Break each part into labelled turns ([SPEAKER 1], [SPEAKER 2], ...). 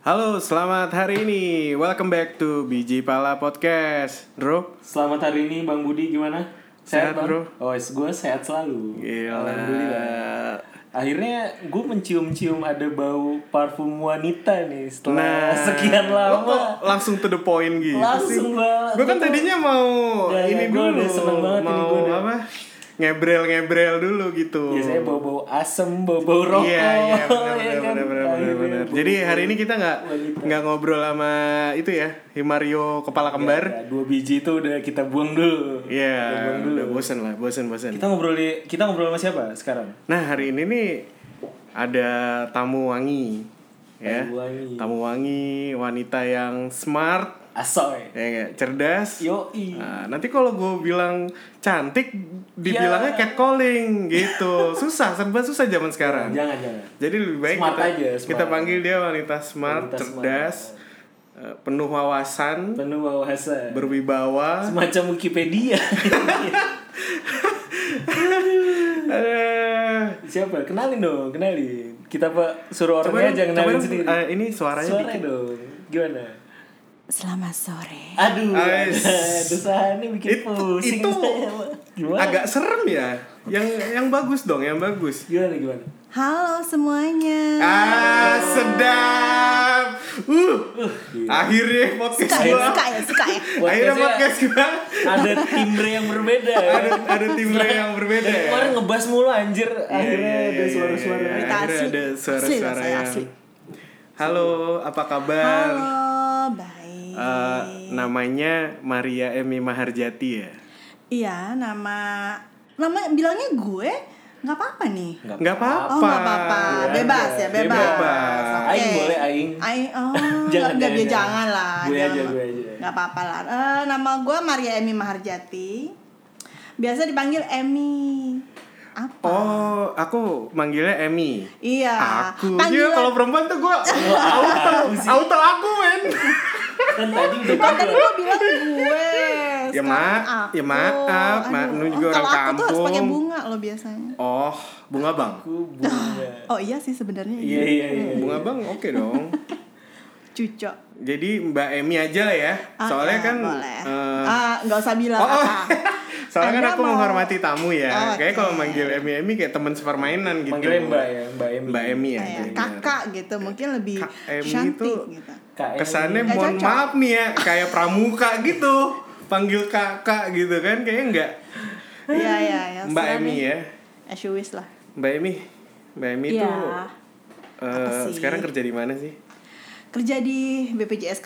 [SPEAKER 1] Halo, selamat hari ini. Welcome back to Biji Pala Podcast, bro.
[SPEAKER 2] Selamat hari ini Bang Budi gimana?
[SPEAKER 1] Sehat, bro.
[SPEAKER 2] Oh, gue sehat selalu.
[SPEAKER 1] Gila.
[SPEAKER 2] Alhamdulillah. Akhirnya gue mencium-cium ada bau parfum wanita nih setelah sekian
[SPEAKER 1] lo Nah, kok
[SPEAKER 2] lama.
[SPEAKER 1] langsung to the point gitu
[SPEAKER 2] Langsung banget.
[SPEAKER 1] Gue kan
[SPEAKER 2] Betul.
[SPEAKER 1] tadinya mau
[SPEAKER 2] Ya, ya,
[SPEAKER 1] ini
[SPEAKER 2] gua
[SPEAKER 1] dulu,
[SPEAKER 2] udah seneng banget ini,
[SPEAKER 1] mau
[SPEAKER 2] gua udah.
[SPEAKER 1] apa? Ngebrel-ngebrel dulu gitu.
[SPEAKER 2] Biasanya bau-bau asem, bau-bau rokok.
[SPEAKER 1] Iya, iya,
[SPEAKER 2] ya kan?
[SPEAKER 1] benar benar benar
[SPEAKER 2] Akhirnya
[SPEAKER 1] benar.
[SPEAKER 2] bau-
[SPEAKER 1] Jadi hari ini kita nggak
[SPEAKER 2] wanita.
[SPEAKER 1] nggak ngobrol sama itu ya, Himario kepala kembar.
[SPEAKER 2] Ya, dua biji itu udah kita buang dulu.
[SPEAKER 1] Iya,
[SPEAKER 2] Kita buang dulu.
[SPEAKER 1] udah bosen lah, bosen bosen.
[SPEAKER 2] Kita ngobrol di- kita ngobrol sama siapa sekarang?
[SPEAKER 1] Nah hari ini nih ada tamu wangi, ya.
[SPEAKER 2] Tamu wangi.
[SPEAKER 1] Tamu wangi, wanita yang smart,
[SPEAKER 2] Asoy.
[SPEAKER 1] ya nggak? cerdas.
[SPEAKER 2] Yoi.
[SPEAKER 1] Nah, nanti kalau gue bilang cantik, dibilangnya
[SPEAKER 2] Ya.
[SPEAKER 1] catcalling gitu. Susah, serba susah zaman sekarang.
[SPEAKER 2] Jangan, jangan.
[SPEAKER 1] Jadi lebih baik
[SPEAKER 2] Ya. Smart
[SPEAKER 1] kita,
[SPEAKER 2] aja, smart.
[SPEAKER 1] kita panggil dia wanita smart,
[SPEAKER 2] Wanita
[SPEAKER 1] cerdas, eh, penuh wawasan,
[SPEAKER 2] Penuh wawasan.
[SPEAKER 1] berwibawa.
[SPEAKER 2] Semacam Wikipedia. Iya.
[SPEAKER 1] Aduh.
[SPEAKER 2] Siapa? Kenalin dong, kenalin. Kita pak suruh orangnya aja
[SPEAKER 1] dong,
[SPEAKER 2] kenalin
[SPEAKER 1] dong,
[SPEAKER 2] sendiri.
[SPEAKER 1] eh, ini suaranya
[SPEAKER 2] Suara
[SPEAKER 1] dikit.
[SPEAKER 2] dong. Gimana?
[SPEAKER 3] Selamat sore.
[SPEAKER 2] Aduh,
[SPEAKER 1] Ais.
[SPEAKER 2] dosa nih bikin
[SPEAKER 1] Itu-
[SPEAKER 2] pusing.
[SPEAKER 1] itu
[SPEAKER 2] saya, Pak. gimana?
[SPEAKER 1] Agak serem ya. Yang yang bagus dong, yang bagus.
[SPEAKER 2] Gimana gimana?
[SPEAKER 3] Halo semuanya.
[SPEAKER 1] Ah, sedap. Uh. Akhirnya podcast
[SPEAKER 3] Suka ya,
[SPEAKER 1] gua.
[SPEAKER 3] suka ya, suka ya.
[SPEAKER 1] Akhirnya
[SPEAKER 2] Podcastnya-
[SPEAKER 1] podcast gua.
[SPEAKER 2] Ada timbre yang berbeda.
[SPEAKER 1] ada ada timbre yang berbeda
[SPEAKER 2] Dari
[SPEAKER 1] ya.
[SPEAKER 2] kemarin ngebas mulu anjir,
[SPEAKER 1] Iya,
[SPEAKER 2] akhirnya
[SPEAKER 1] iya,
[SPEAKER 2] ada
[SPEAKER 1] iya,
[SPEAKER 2] suara-suara.
[SPEAKER 1] iya, iya.
[SPEAKER 3] Berita
[SPEAKER 1] Akhirnya
[SPEAKER 3] asli.
[SPEAKER 1] ada
[SPEAKER 3] Asli loh,
[SPEAKER 1] suara-suara
[SPEAKER 3] saya
[SPEAKER 1] yang
[SPEAKER 3] asli.
[SPEAKER 1] Halo, apa kabar?
[SPEAKER 3] Halo, baik.
[SPEAKER 2] Ah.
[SPEAKER 1] Eh, namanya Maria Emi Maharjati ya.
[SPEAKER 3] Iya, nama nama bilangnya gue nggak apa-apa nih.
[SPEAKER 1] Nggak apa-apa.
[SPEAKER 3] Oh, nggak apa-apa.
[SPEAKER 2] Iya,
[SPEAKER 3] Bebas ya,
[SPEAKER 2] iya,
[SPEAKER 3] bebas.
[SPEAKER 1] bebas.
[SPEAKER 3] Oke.
[SPEAKER 2] Aing boleh, Aing.
[SPEAKER 3] Aing oh,
[SPEAKER 2] Jangan,
[SPEAKER 3] jangan, nggak,
[SPEAKER 2] jangan,
[SPEAKER 3] jangan, jangan lah.
[SPEAKER 2] Gue aja,
[SPEAKER 3] jangan.
[SPEAKER 2] gue aja.
[SPEAKER 3] Nggak apa-apa lah. Eh, nama gue Maria Emi Maharjati. Biasa dipanggil Emi. Apa?
[SPEAKER 1] Oh, aku manggilnya Emi.
[SPEAKER 3] Iya.
[SPEAKER 1] Aku. Iya,
[SPEAKER 3] Panggilan-
[SPEAKER 1] kalau perempan tuh gua
[SPEAKER 2] Iya
[SPEAKER 1] auto auto aku, men.
[SPEAKER 2] Kan tadi udah
[SPEAKER 3] Kan tadi
[SPEAKER 2] bilang.
[SPEAKER 3] gue bilang gue.
[SPEAKER 1] Ya,
[SPEAKER 3] sekarang
[SPEAKER 1] maaf,
[SPEAKER 3] aku.
[SPEAKER 1] ya, maaf,
[SPEAKER 3] Aduh.
[SPEAKER 1] maaf, lu
[SPEAKER 3] Oh,
[SPEAKER 1] juga orang
[SPEAKER 3] kalau aku tuh harus pakai
[SPEAKER 1] kampung.
[SPEAKER 3] bunga lo biasanya.
[SPEAKER 1] Oh, bunga Bang.
[SPEAKER 2] Aku bunga.
[SPEAKER 3] Oh iya sih sebenarnya
[SPEAKER 2] Iya iya iya.
[SPEAKER 1] Bunga Bang oke dong.
[SPEAKER 3] Cucok.
[SPEAKER 1] Jadi Mbak Emi aja lah ya.
[SPEAKER 3] Ah,
[SPEAKER 1] Soalnya
[SPEAKER 3] ah,
[SPEAKER 1] kan
[SPEAKER 3] boleh.
[SPEAKER 1] eh,
[SPEAKER 3] ah, nggak usah bilang
[SPEAKER 1] Oh, oh.
[SPEAKER 3] apa.
[SPEAKER 1] Soalnya kan
[SPEAKER 3] Anda
[SPEAKER 1] aku
[SPEAKER 3] mau-
[SPEAKER 1] menghormati tamu ya.
[SPEAKER 3] Oh,
[SPEAKER 1] Kayak
[SPEAKER 3] oke.
[SPEAKER 1] kalau manggil Emi Emi kayak teman sepermainan gitu.
[SPEAKER 2] Manggilnya Mbak ya, Mbak Emi.
[SPEAKER 1] Mbak Emi ya.
[SPEAKER 3] Kayak
[SPEAKER 1] jadi.
[SPEAKER 3] kakak gitu mungkin lebih
[SPEAKER 1] Kak Emi
[SPEAKER 3] cantik
[SPEAKER 1] tuh-
[SPEAKER 3] gitu.
[SPEAKER 2] Kak Emi.
[SPEAKER 1] Kesannya
[SPEAKER 3] Nggak
[SPEAKER 1] mohon
[SPEAKER 3] cocok.
[SPEAKER 1] maaf nih ya, kayak pramuka gitu. Panggil kakak gitu kan kayaknya enggak.
[SPEAKER 3] Iya iya iya.
[SPEAKER 1] Mbak
[SPEAKER 3] serah
[SPEAKER 1] Emi
[SPEAKER 3] nih.
[SPEAKER 1] ya.
[SPEAKER 3] As you wish lah.
[SPEAKER 1] Mbak Emi. Mbak Emi
[SPEAKER 3] Iya.
[SPEAKER 1] tuh
[SPEAKER 3] Apa
[SPEAKER 1] eh,
[SPEAKER 3] sih?
[SPEAKER 1] sekarang kerja di mana sih?
[SPEAKER 3] Kerja di BPJS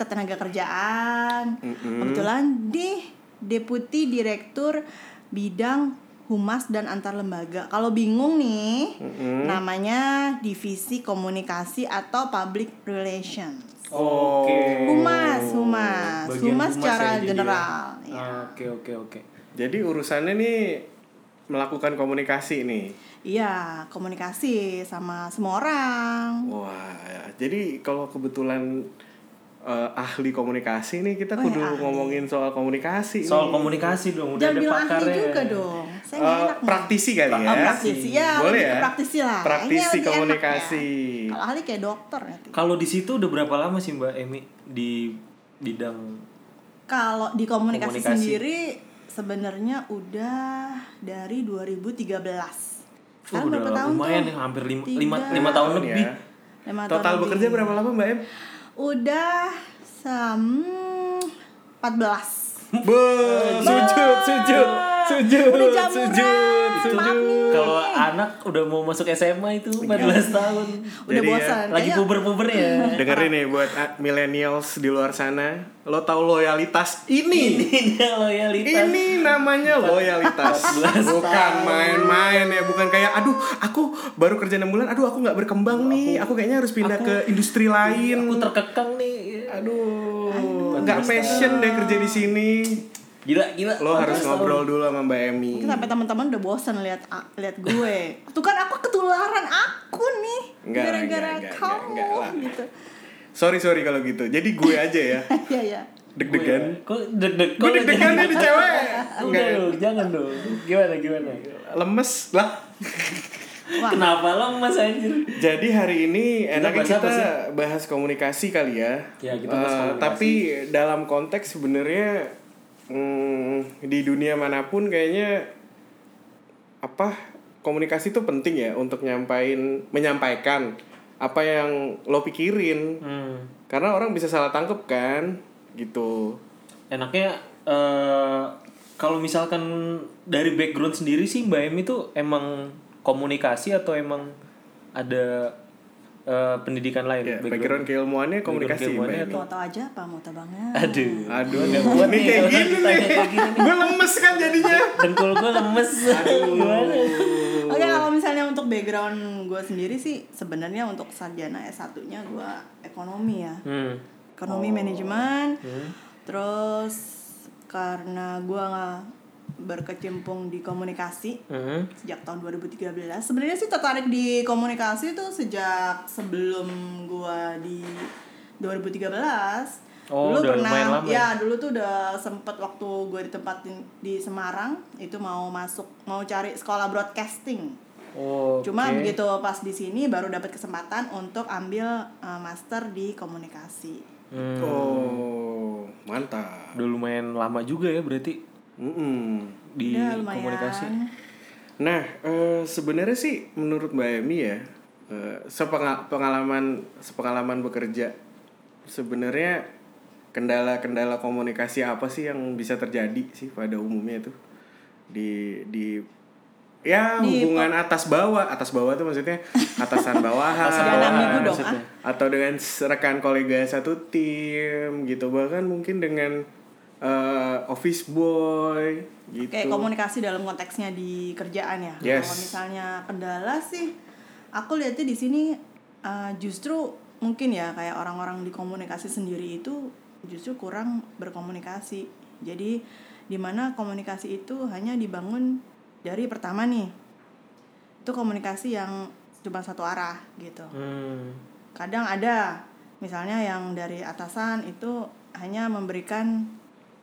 [SPEAKER 3] Ketenagakerjaan.
[SPEAKER 1] Mm-mm.
[SPEAKER 3] Kebetulan di Deputi Direktur Bidang Humas dan Antar Lembaga. Kalau bingung nih,
[SPEAKER 1] Mm-mm.
[SPEAKER 3] namanya Divisi Komunikasi atau Public Relations.
[SPEAKER 2] Oke.
[SPEAKER 1] Oh.
[SPEAKER 3] Humas, humas,
[SPEAKER 2] Oh, Bagian
[SPEAKER 3] humas
[SPEAKER 2] ya, jadi
[SPEAKER 3] secara
[SPEAKER 2] ya.
[SPEAKER 3] general. ya.
[SPEAKER 2] Ah, Oke oke oke.
[SPEAKER 1] Jadi urusannya nih melakukan komunikasi nih.
[SPEAKER 3] Iya, komunikasi sama semua orang.
[SPEAKER 1] Wah, jadi kalau kebetulan eh, ahli komunikasi nih kita
[SPEAKER 3] Oh,
[SPEAKER 1] kudu
[SPEAKER 3] ya, ahli.
[SPEAKER 1] ngomongin soal komunikasi.
[SPEAKER 2] Soal
[SPEAKER 1] nih.
[SPEAKER 2] komunikasi dong udah
[SPEAKER 3] Jangan
[SPEAKER 2] ada
[SPEAKER 3] bilang ahli
[SPEAKER 2] pakarnya.
[SPEAKER 3] juga dong. Saya nggak
[SPEAKER 1] Eh,
[SPEAKER 3] enak nih.
[SPEAKER 1] praktisi kali ya.
[SPEAKER 3] Oh, praktisi. Ya,
[SPEAKER 1] Boleh
[SPEAKER 3] lebih
[SPEAKER 1] ya?
[SPEAKER 3] ke praktisi lah. Kayaknya
[SPEAKER 1] Praktisi
[SPEAKER 3] lebih enak
[SPEAKER 1] komunikasi.
[SPEAKER 3] ya. Kalau ahli kayak dokter ya. nanti.
[SPEAKER 2] Kalau di situ udah berapa lama sih Mbak Emi di bidang
[SPEAKER 3] Kalau di komunikasi,
[SPEAKER 2] Komunikasi.
[SPEAKER 3] sendiri sebenarnya udah dari 2013.
[SPEAKER 2] Wah,
[SPEAKER 3] Sekarang berapa tahun
[SPEAKER 2] lumayan
[SPEAKER 3] tuh?
[SPEAKER 2] ya hampir lima,
[SPEAKER 3] Tiga.
[SPEAKER 2] lima, lima tahun
[SPEAKER 1] Tahun
[SPEAKER 2] lebih.
[SPEAKER 1] ya.
[SPEAKER 3] Lima tahun
[SPEAKER 1] Total
[SPEAKER 3] lebih.
[SPEAKER 1] bekerja berapa lama Mbak Em?
[SPEAKER 3] Udah sam 14.
[SPEAKER 1] Be,
[SPEAKER 2] eh,
[SPEAKER 1] sujud, sujud, sujud,
[SPEAKER 3] Udah jamuran.
[SPEAKER 1] sujud,
[SPEAKER 2] Itu
[SPEAKER 3] Maaf nih. Iya.
[SPEAKER 2] kalau anak udah mau masuk SMA itu 14 tahun.
[SPEAKER 3] Udah
[SPEAKER 1] Jadi ya,
[SPEAKER 3] bosan.
[SPEAKER 2] Lagi
[SPEAKER 3] Kayaknya-
[SPEAKER 2] puber-puber ya.
[SPEAKER 1] Dengerin nih buat ah, millennials di luar sana, lo tahu loyalitas ini.
[SPEAKER 2] Ini loyalitas.
[SPEAKER 1] Ini namanya loyalitas. Bukan main-main ya, bukan kayak aduh aku baru kerja 6 bulan, aduh aku nggak berkembang nih, aku kayaknya harus pindah
[SPEAKER 2] aku-
[SPEAKER 1] ke industri lain.
[SPEAKER 2] Aku terkekang nih.
[SPEAKER 1] Aduh, nggak passion deh kerja di sini.
[SPEAKER 2] Gila, gila.
[SPEAKER 1] Lo harus
[SPEAKER 2] 14 tahun.
[SPEAKER 1] ngobrol dulu sama Mbak Emi.
[SPEAKER 3] Mungkin sampai teman-teman udah bosan lihat lihat gue. Tuh kan aku ketularan aku nih
[SPEAKER 1] Enggak lah,
[SPEAKER 3] gara-gara
[SPEAKER 1] enggak, enggak,
[SPEAKER 3] kamu
[SPEAKER 1] enggak, enggak lah.
[SPEAKER 3] gitu.
[SPEAKER 1] Sorry sorry kalau gitu. Jadi gue aja ya.
[SPEAKER 3] Iya ya.
[SPEAKER 1] Deg-degan.
[SPEAKER 2] Kok deg-deg?
[SPEAKER 1] Gue deg-degan nih di cewek.
[SPEAKER 2] Udah
[SPEAKER 1] Enggak. ya?
[SPEAKER 2] dong, jangan dong. Gimana gimana?
[SPEAKER 1] Lemes lah.
[SPEAKER 3] Wah.
[SPEAKER 2] Kenapa lemas anjir?
[SPEAKER 1] Jadi hari ini enaknya
[SPEAKER 2] bahas apa
[SPEAKER 1] kita bahas komunikasi kali ya.
[SPEAKER 2] Ya, kita bahas
[SPEAKER 1] Eh,
[SPEAKER 2] komunikasi.
[SPEAKER 1] Tapi dalam konteks sebenarnya hmm, di dunia manapun kayaknya apa komunikasi itu penting ya untuk nyampain menyampaikan apa yang lo pikirin.
[SPEAKER 2] Hmm.
[SPEAKER 1] Karena orang bisa salah tangkep kan gitu.
[SPEAKER 2] Enaknya eh kalau misalkan dari background sendiri sih Mbak Em itu emang komunikasi atau emang ada eh, pendidikan lain?
[SPEAKER 1] Ya,
[SPEAKER 2] Background-
[SPEAKER 1] background keilmuannya komunikasi.
[SPEAKER 2] keilmuannya
[SPEAKER 1] Mbak.
[SPEAKER 2] atau-
[SPEAKER 3] Tahu-tahu aja apa mau banget.
[SPEAKER 2] Aduh.
[SPEAKER 1] Aduh,
[SPEAKER 2] Nggak kuat
[SPEAKER 1] ini
[SPEAKER 2] nih
[SPEAKER 1] kayak
[SPEAKER 2] kalau
[SPEAKER 1] gini
[SPEAKER 2] ditanya
[SPEAKER 1] nih.
[SPEAKER 2] kayak gini.
[SPEAKER 1] Gue lemes kan jadinya.
[SPEAKER 2] Dengkul gue lemes. Gimana?
[SPEAKER 3] Oke, kalau misalnya untuk background gue sendiri sih sebenarnya untuk sarjana S1-nya gue ekonomi ya.
[SPEAKER 2] Hmm.
[SPEAKER 3] Ekonomi manajemen. Terus karena gue nggak berkecimpung di komunikasi
[SPEAKER 2] Hmm.
[SPEAKER 3] sejak tahun 2013. Sebenarnya sih tertarik di komunikasi itu sejak sebelum gua di 2013.
[SPEAKER 2] Oh,
[SPEAKER 3] dulu
[SPEAKER 2] udah
[SPEAKER 3] pernah
[SPEAKER 2] lumayan lama
[SPEAKER 3] ya dulu tuh udah sempet waktu gue ditempatin di Semarang itu mau masuk mau cari sekolah broadcasting.
[SPEAKER 2] Oh,
[SPEAKER 3] Cuma
[SPEAKER 2] oke.
[SPEAKER 3] begitu pas di sini baru dapat kesempatan untuk ambil eh, master di komunikasi.
[SPEAKER 2] Hmm.
[SPEAKER 1] Oh, mantap.
[SPEAKER 2] Udah lumayan lama juga ya berarti
[SPEAKER 1] Mm-mm.
[SPEAKER 2] di
[SPEAKER 3] Udah lumayan.
[SPEAKER 2] komunikasi.
[SPEAKER 1] Nah, eh, sebenarnya sih menurut Mbak Emi ya, eh, sepenga- pengalaman sepengalaman bekerja, sebenarnya kendala-kendala komunikasi apa sih yang bisa terjadi sih pada umumnya itu di di ya
[SPEAKER 3] Di
[SPEAKER 1] hubungan atas bawah atas bawah tuh maksudnya atasan bawahan
[SPEAKER 2] Atasan bawahan,
[SPEAKER 3] Jangan ambigu dong, ah.
[SPEAKER 1] maksudnya. atau dengan rekan kolega satu tim gitu bahkan mungkin dengan eh, office boy gitu
[SPEAKER 3] Kayak komunikasi dalam konteksnya di kerjaan ya.
[SPEAKER 1] Yes.
[SPEAKER 3] Kalau misalnya kendala sih, aku lihatnya di sini uh, justru mungkin ya kayak orang-orang di komunikasi sendiri itu justru kurang berkomunikasi. Jadi dimana komunikasi itu hanya dibangun dari pertama nih, itu komunikasi yang cuma satu arah gitu
[SPEAKER 2] Hmm.
[SPEAKER 3] kadang ada misalnya yang dari atasan itu hanya memberikan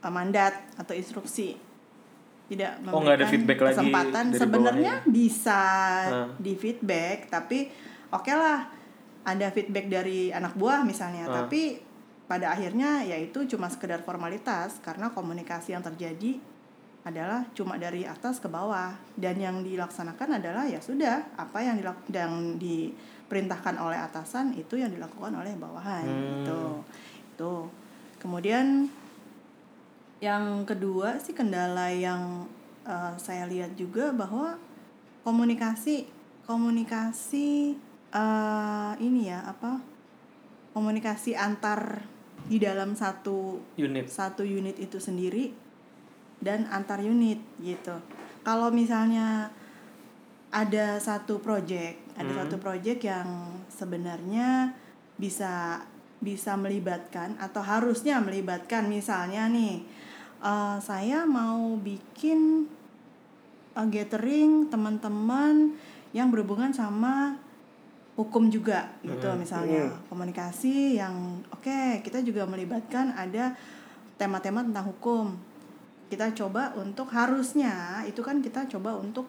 [SPEAKER 3] eh, mandat atau instruksi tidak memberikan
[SPEAKER 2] Oh, nggak ada feedback lagi
[SPEAKER 3] kesempatan
[SPEAKER 2] dari
[SPEAKER 3] sebenarnya bisa
[SPEAKER 2] Nah.
[SPEAKER 3] di feedback tapi oke lah ada feedback dari anak buah misalnya
[SPEAKER 2] Nah.
[SPEAKER 3] tapi pada akhirnya yaitu cuma sekedar formalitas karena komunikasi yang terjadi adalah cuma dari atas ke bawah dan yang dilaksanakan adalah ya sudah apa yang dilak- yang diperintahkan oleh atasan itu yang dilakukan oleh bawahan gitu. Itu. Kemudian yang kedua sih kendala yang eh, saya lihat juga bahwa komunikasi komunikasi eh, ini ya apa komunikasi antar di dalam satu
[SPEAKER 2] Unit.
[SPEAKER 3] satu unit itu sendiri dan antar unit gitu. Kalau misalnya ada satu project, ada satu project yang sebenarnya bisa bisa melibatkan atau harusnya melibatkan misalnya nih eh, saya mau bikin eh, gathering teman-teman yang berhubungan sama hukum juga gitu misalnya komunikasi yang oke kita juga melibatkan ada tema-tema tentang hukum kita coba untuk harusnya itu kan kita coba untuk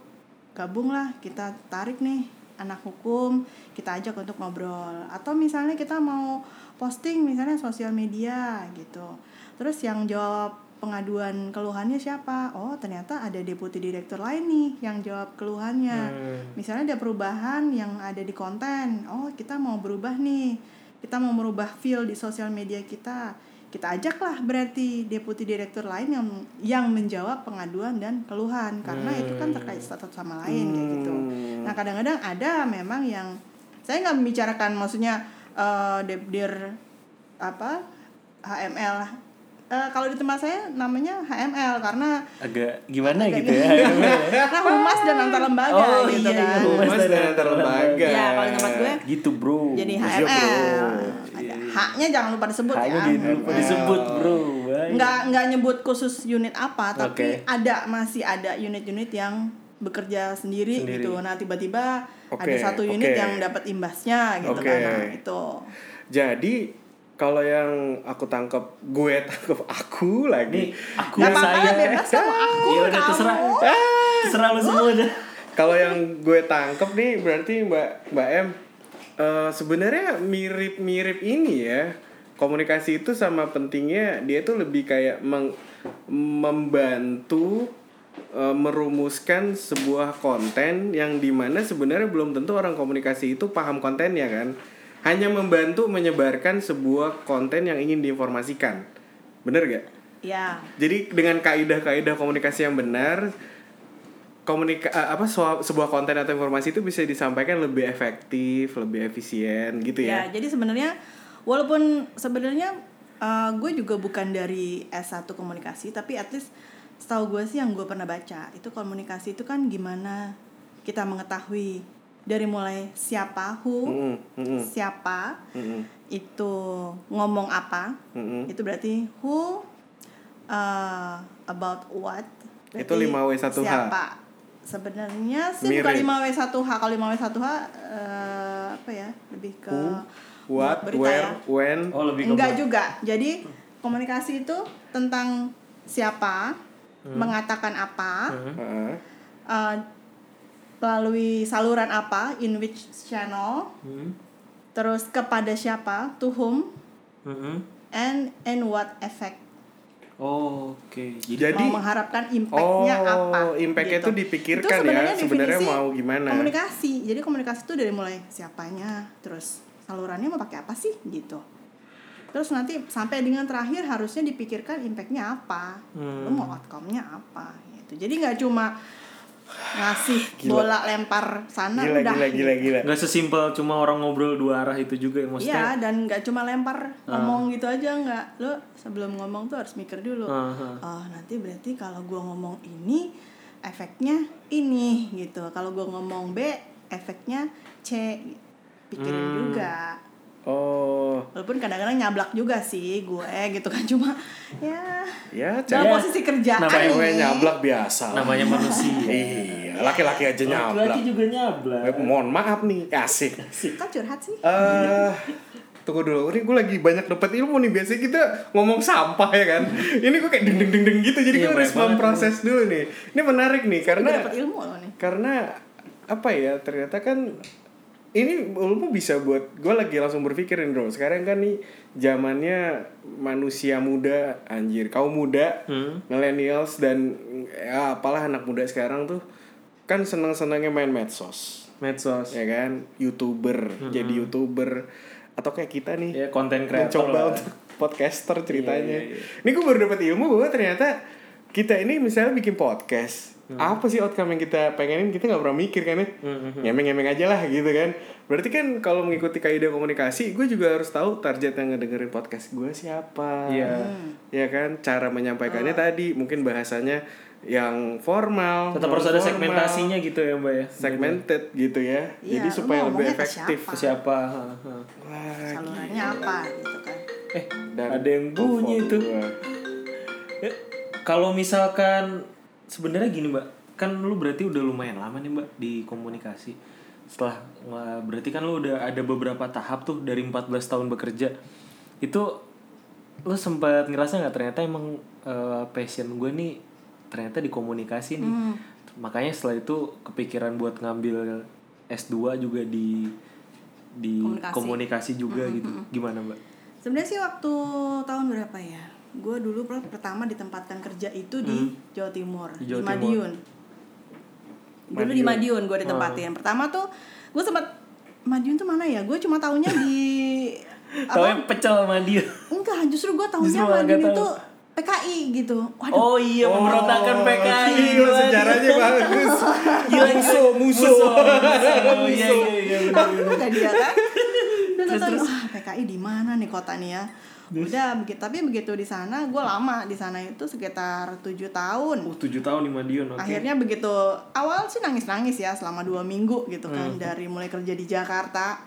[SPEAKER 3] gabung lah kita tarik nih anak hukum kita ajak untuk ngobrol atau misalnya kita mau posting misalnya sosial media gitu terus yang jawab pengaduan keluhannya siapa oh ternyata ada deputi direktur lain nih yang jawab keluhannya Misalnya ada perubahan yang ada di konten. Oh, kita mau berubah nih. Kita mau merubah feel di sosial media kita. Kita ajaklah berarti deputi direktur lain yang yang menjawab pengaduan dan keluhan karena itu kan terkait satu sama lain kayak gitu.
[SPEAKER 2] Hmm.
[SPEAKER 3] Nah, kadang-kadang ada memang yang saya nggak membicarakan maksudnya eh depdir apa HML. Eh, kalau di tempat saya namanya HML karena
[SPEAKER 2] Agak gimana
[SPEAKER 3] Agak
[SPEAKER 2] gitu ya.
[SPEAKER 3] karena humas dan antar lembaga
[SPEAKER 2] Oh, iya,
[SPEAKER 3] gitu
[SPEAKER 2] iya,
[SPEAKER 3] kan.
[SPEAKER 2] humas.
[SPEAKER 1] Mas dan antar lembaga.
[SPEAKER 3] Iya, kalau di tempat gue
[SPEAKER 2] gitu bro.
[SPEAKER 3] jadi
[SPEAKER 1] Bos
[SPEAKER 3] HML
[SPEAKER 1] ya, bro.
[SPEAKER 3] ada haknya jangan lupa disebut
[SPEAKER 2] Kayaknya
[SPEAKER 3] ya
[SPEAKER 2] di- iya. lupa disebut bro. Wah.
[SPEAKER 3] nggak nggak nyebut khusus unit apa tapi
[SPEAKER 2] Oke.
[SPEAKER 3] ada masih ada unit-unit yang bekerja sendiri,
[SPEAKER 2] Sendiri.
[SPEAKER 3] gitu nah tiba-tiba ada
[SPEAKER 1] Oke,
[SPEAKER 3] satu unit
[SPEAKER 1] oke.
[SPEAKER 3] yang dapat imbasnya gitu
[SPEAKER 1] Oke.
[SPEAKER 3] kan nah, itu
[SPEAKER 1] Jadi kalau yang aku tangkap gue tangkap aku
[SPEAKER 2] Ini
[SPEAKER 1] lagi.
[SPEAKER 2] aku
[SPEAKER 3] Gak apa-apa
[SPEAKER 2] saya.
[SPEAKER 3] bebas sama aku
[SPEAKER 2] Ya udah
[SPEAKER 3] kamu.
[SPEAKER 2] terserah. Terserah lu semua aja.
[SPEAKER 1] Kalau yang gue tangkep nih berarti Mbak Mbak M eh, sebenarnya mirip-mirip ini ya. Komunikasi itu sama pentingnya dia tuh lebih kayak meng- membantu eh, merumuskan sebuah konten yang dimana sebenarnya belum tentu orang komunikasi itu paham kontennya kan. Hanya membantu menyebarkan sebuah konten yang ingin diinformasikan. Bener gak?
[SPEAKER 3] Ya.
[SPEAKER 1] Jadi dengan kaidah-kaidah komunikasi yang benar, komunika eh, apa sua- sebuah konten atau informasi itu bisa disampaikan lebih efektif, lebih efisien gitu
[SPEAKER 3] Ya,
[SPEAKER 1] ya.
[SPEAKER 3] jadi sebenarnya walaupun sebenarnya uh, gue juga bukan dari S1 komunikasi, tapi at least setahu gue sih yang gue pernah baca, itu komunikasi itu kan gimana kita mengetahui dari mulai siapa who,
[SPEAKER 1] Mm-mm, mm-mm,
[SPEAKER 3] siapa
[SPEAKER 1] mm-mm,
[SPEAKER 3] itu ngomong apa,
[SPEAKER 1] mm-mm.
[SPEAKER 3] itu berarti who uh, about what.
[SPEAKER 1] Itu 5W1H.
[SPEAKER 3] Siapa? Sebenarnya sih
[SPEAKER 1] Mirip.
[SPEAKER 3] bukan 5W1H. Kalau 5W1H eh, uh, apa ya? Lebih ke ya.
[SPEAKER 1] Who,
[SPEAKER 3] buat
[SPEAKER 1] What, where, when,
[SPEAKER 2] Oh, lebih ke
[SPEAKER 3] Enggak juga. Jadi komunikasi itu tentang siapa,
[SPEAKER 1] Hmm.
[SPEAKER 3] mengatakan apa,
[SPEAKER 1] heeh.
[SPEAKER 3] eh, melalui saluran apa, in which channel,
[SPEAKER 2] Hmm.
[SPEAKER 3] terus kepada siapa, to whom,
[SPEAKER 2] Mhm.
[SPEAKER 3] and and what effect.
[SPEAKER 2] Oh, Oke. Jadi
[SPEAKER 1] Jadi
[SPEAKER 3] mau mengharapkan impactnya
[SPEAKER 1] Oh,
[SPEAKER 3] apa Gitu.
[SPEAKER 1] impact-nya tuh dipikirkan ya,
[SPEAKER 3] sebenarnya
[SPEAKER 1] sebenarnya
[SPEAKER 3] definisi
[SPEAKER 1] mau gimana.
[SPEAKER 3] komunikasi jadi komunikasi itu dari mulai siapanya terus salurannya mau pakai apa sih gitu terus nanti sampai dengan terakhir harusnya dipikirkan impactnya apa lu mau
[SPEAKER 1] Hmm.
[SPEAKER 3] outcome-nya apa gitu jadi nggak cuma ngasih bola lempar sana
[SPEAKER 1] gila,
[SPEAKER 3] udah
[SPEAKER 1] gila, gila, gila.
[SPEAKER 2] nggak sesimpel cuma orang ngobrol dua arah itu juga ya maksudnya.
[SPEAKER 3] Iya, dan nggak cuma lempar ngomong gitu aja nggak. Lo sebelum ngomong tuh harus mikir dulu.
[SPEAKER 2] Aha.
[SPEAKER 3] Oh, nanti berarti kalau gua ngomong ini efeknya ini gitu. Kalau gua ngomong B efeknya C. Pikirin juga.
[SPEAKER 1] Oh,
[SPEAKER 3] Walaupun kadang-kadang nyablak juga sih gue gitu kan cuma ya
[SPEAKER 1] ya, cewek
[SPEAKER 3] dalam posisi kerjaan
[SPEAKER 2] namanya
[SPEAKER 1] cewek
[SPEAKER 3] nih.
[SPEAKER 1] nyablak biasa. lah.
[SPEAKER 2] Namanya manusia.
[SPEAKER 1] Iya, laki-laki aja
[SPEAKER 2] Laki-laki
[SPEAKER 1] nyablak.
[SPEAKER 2] juga nyablak.
[SPEAKER 1] Eh, Mohon maaf nih, asik.
[SPEAKER 3] Kan curhat sih.
[SPEAKER 1] eh tunggu dulu, ini gue lagi banyak dapat ilmu nih. Biasanya kita ngomong sampah ya kan. Ini gue kayak deng deng deng deng gitu. Jadi gue
[SPEAKER 2] Iya,
[SPEAKER 1] harus
[SPEAKER 2] banyak banget.
[SPEAKER 1] memproses dulu nih. Ini menarik nih karena
[SPEAKER 3] Gue dapet ilmu loh nih.
[SPEAKER 1] karena apa ya ternyata kan ini ilmu bisa buat gue lagi langsung berpikirin bro sekarang kan nih zamannya manusia muda anjir kaum muda
[SPEAKER 2] Hmm.
[SPEAKER 1] millennials dan ya apalah anak muda sekarang tuh kan seneng senengnya main medsos
[SPEAKER 2] Medsos.
[SPEAKER 1] ya kan youtuber jadi youtuber atau kayak kita nih
[SPEAKER 2] Ya, konten Hmm.
[SPEAKER 1] mencoba
[SPEAKER 2] kreator. lah. Iya,
[SPEAKER 1] untuk podcaster ceritanya. Ini gue baru dapat ilmu bahwa ternyata kita ini misalnya bikin podcast.
[SPEAKER 2] Hmm.
[SPEAKER 1] Apa sih outcome yang kita pengenin kita nggak pernah mikir kan ya?
[SPEAKER 2] hmm.
[SPEAKER 1] Ngemeng-ngemeng aja lah gitu kan. Berarti kan kalau mengikuti kaidah komunikasi, gue juga harus tahu target yang ngedengerin podcast gue siapa.
[SPEAKER 2] Iya. Ah.
[SPEAKER 1] Ya kan, cara menyampaikannya tadi mungkin bahasanya yang formal.
[SPEAKER 2] Tetap harus ada
[SPEAKER 1] non-formal,
[SPEAKER 2] segmentasinya gitu ya, Mbak ya.
[SPEAKER 1] segmented gitu ya.
[SPEAKER 3] Iya,
[SPEAKER 1] Jadi
[SPEAKER 3] lu
[SPEAKER 1] supaya
[SPEAKER 3] mau
[SPEAKER 1] lebih
[SPEAKER 3] ngomongnya ke
[SPEAKER 1] efektif.
[SPEAKER 2] Ke Siapa? Ha, ha.
[SPEAKER 1] Wah,
[SPEAKER 3] Salurannya apa gitu kan.
[SPEAKER 2] Eh,
[SPEAKER 1] dan Oh, iya.
[SPEAKER 2] ada yang bunyi
[SPEAKER 1] telepon
[SPEAKER 2] itu.
[SPEAKER 1] gua.
[SPEAKER 2] Eh, kalau misalkan sebenarnya gini mbak kan lu berarti udah lumayan lama nih mbak di komunikasi setelah wah, berarti kan lu udah ada beberapa tahap tuh dari 14 tahun bekerja itu lu sempat ngerasa nggak ternyata emang eh, passion gue nih ternyata di komunikasi nih makanya setelah itu kepikiran buat ngambil S2 juga di di komunikasi,
[SPEAKER 3] Komunikasi.
[SPEAKER 2] juga gitu gimana mbak
[SPEAKER 3] Sebenarnya sih waktu tahun berapa ya? Gue dulu per- pertama ditempatkan kerja itu di Jawa Timur,
[SPEAKER 2] Hmm. Di
[SPEAKER 3] di,
[SPEAKER 2] Jawa Timur. Hmm.
[SPEAKER 3] Madiun. Dulu di Madiun gue ditempatin. Pertama tuh gue sempat Madiun tuh mana ya? Gue cuma taunya di
[SPEAKER 2] Tau
[SPEAKER 3] apa?
[SPEAKER 2] yang pecel sama dia
[SPEAKER 3] Enggak, justru gue taunya
[SPEAKER 2] Justru malah nggak
[SPEAKER 3] Madiun
[SPEAKER 2] tahu.
[SPEAKER 3] itu PKI gitu. Waduh.
[SPEAKER 2] Oh iya pemberontakan
[SPEAKER 1] Oh,
[SPEAKER 2] PKI
[SPEAKER 1] gila, sejarahnya bagus.
[SPEAKER 2] Gila
[SPEAKER 1] Musuh, musuh.
[SPEAKER 2] Oh iya
[SPEAKER 1] Musuh.
[SPEAKER 2] iya iya bener,
[SPEAKER 3] Tahu
[SPEAKER 2] bener.
[SPEAKER 3] kan dia kan. Terus terus ah, PKI di mana nih kota nih ya? Udah begitu, tapi begitu di sana gue lama di sana itu sekitar tujuh tahun.
[SPEAKER 2] Oh tujuh tahun di Madiun oke
[SPEAKER 3] akhirnya begitu awal sih nangis-nangis ya selama dua minggu gitu kan dari mulai kerja di Jakarta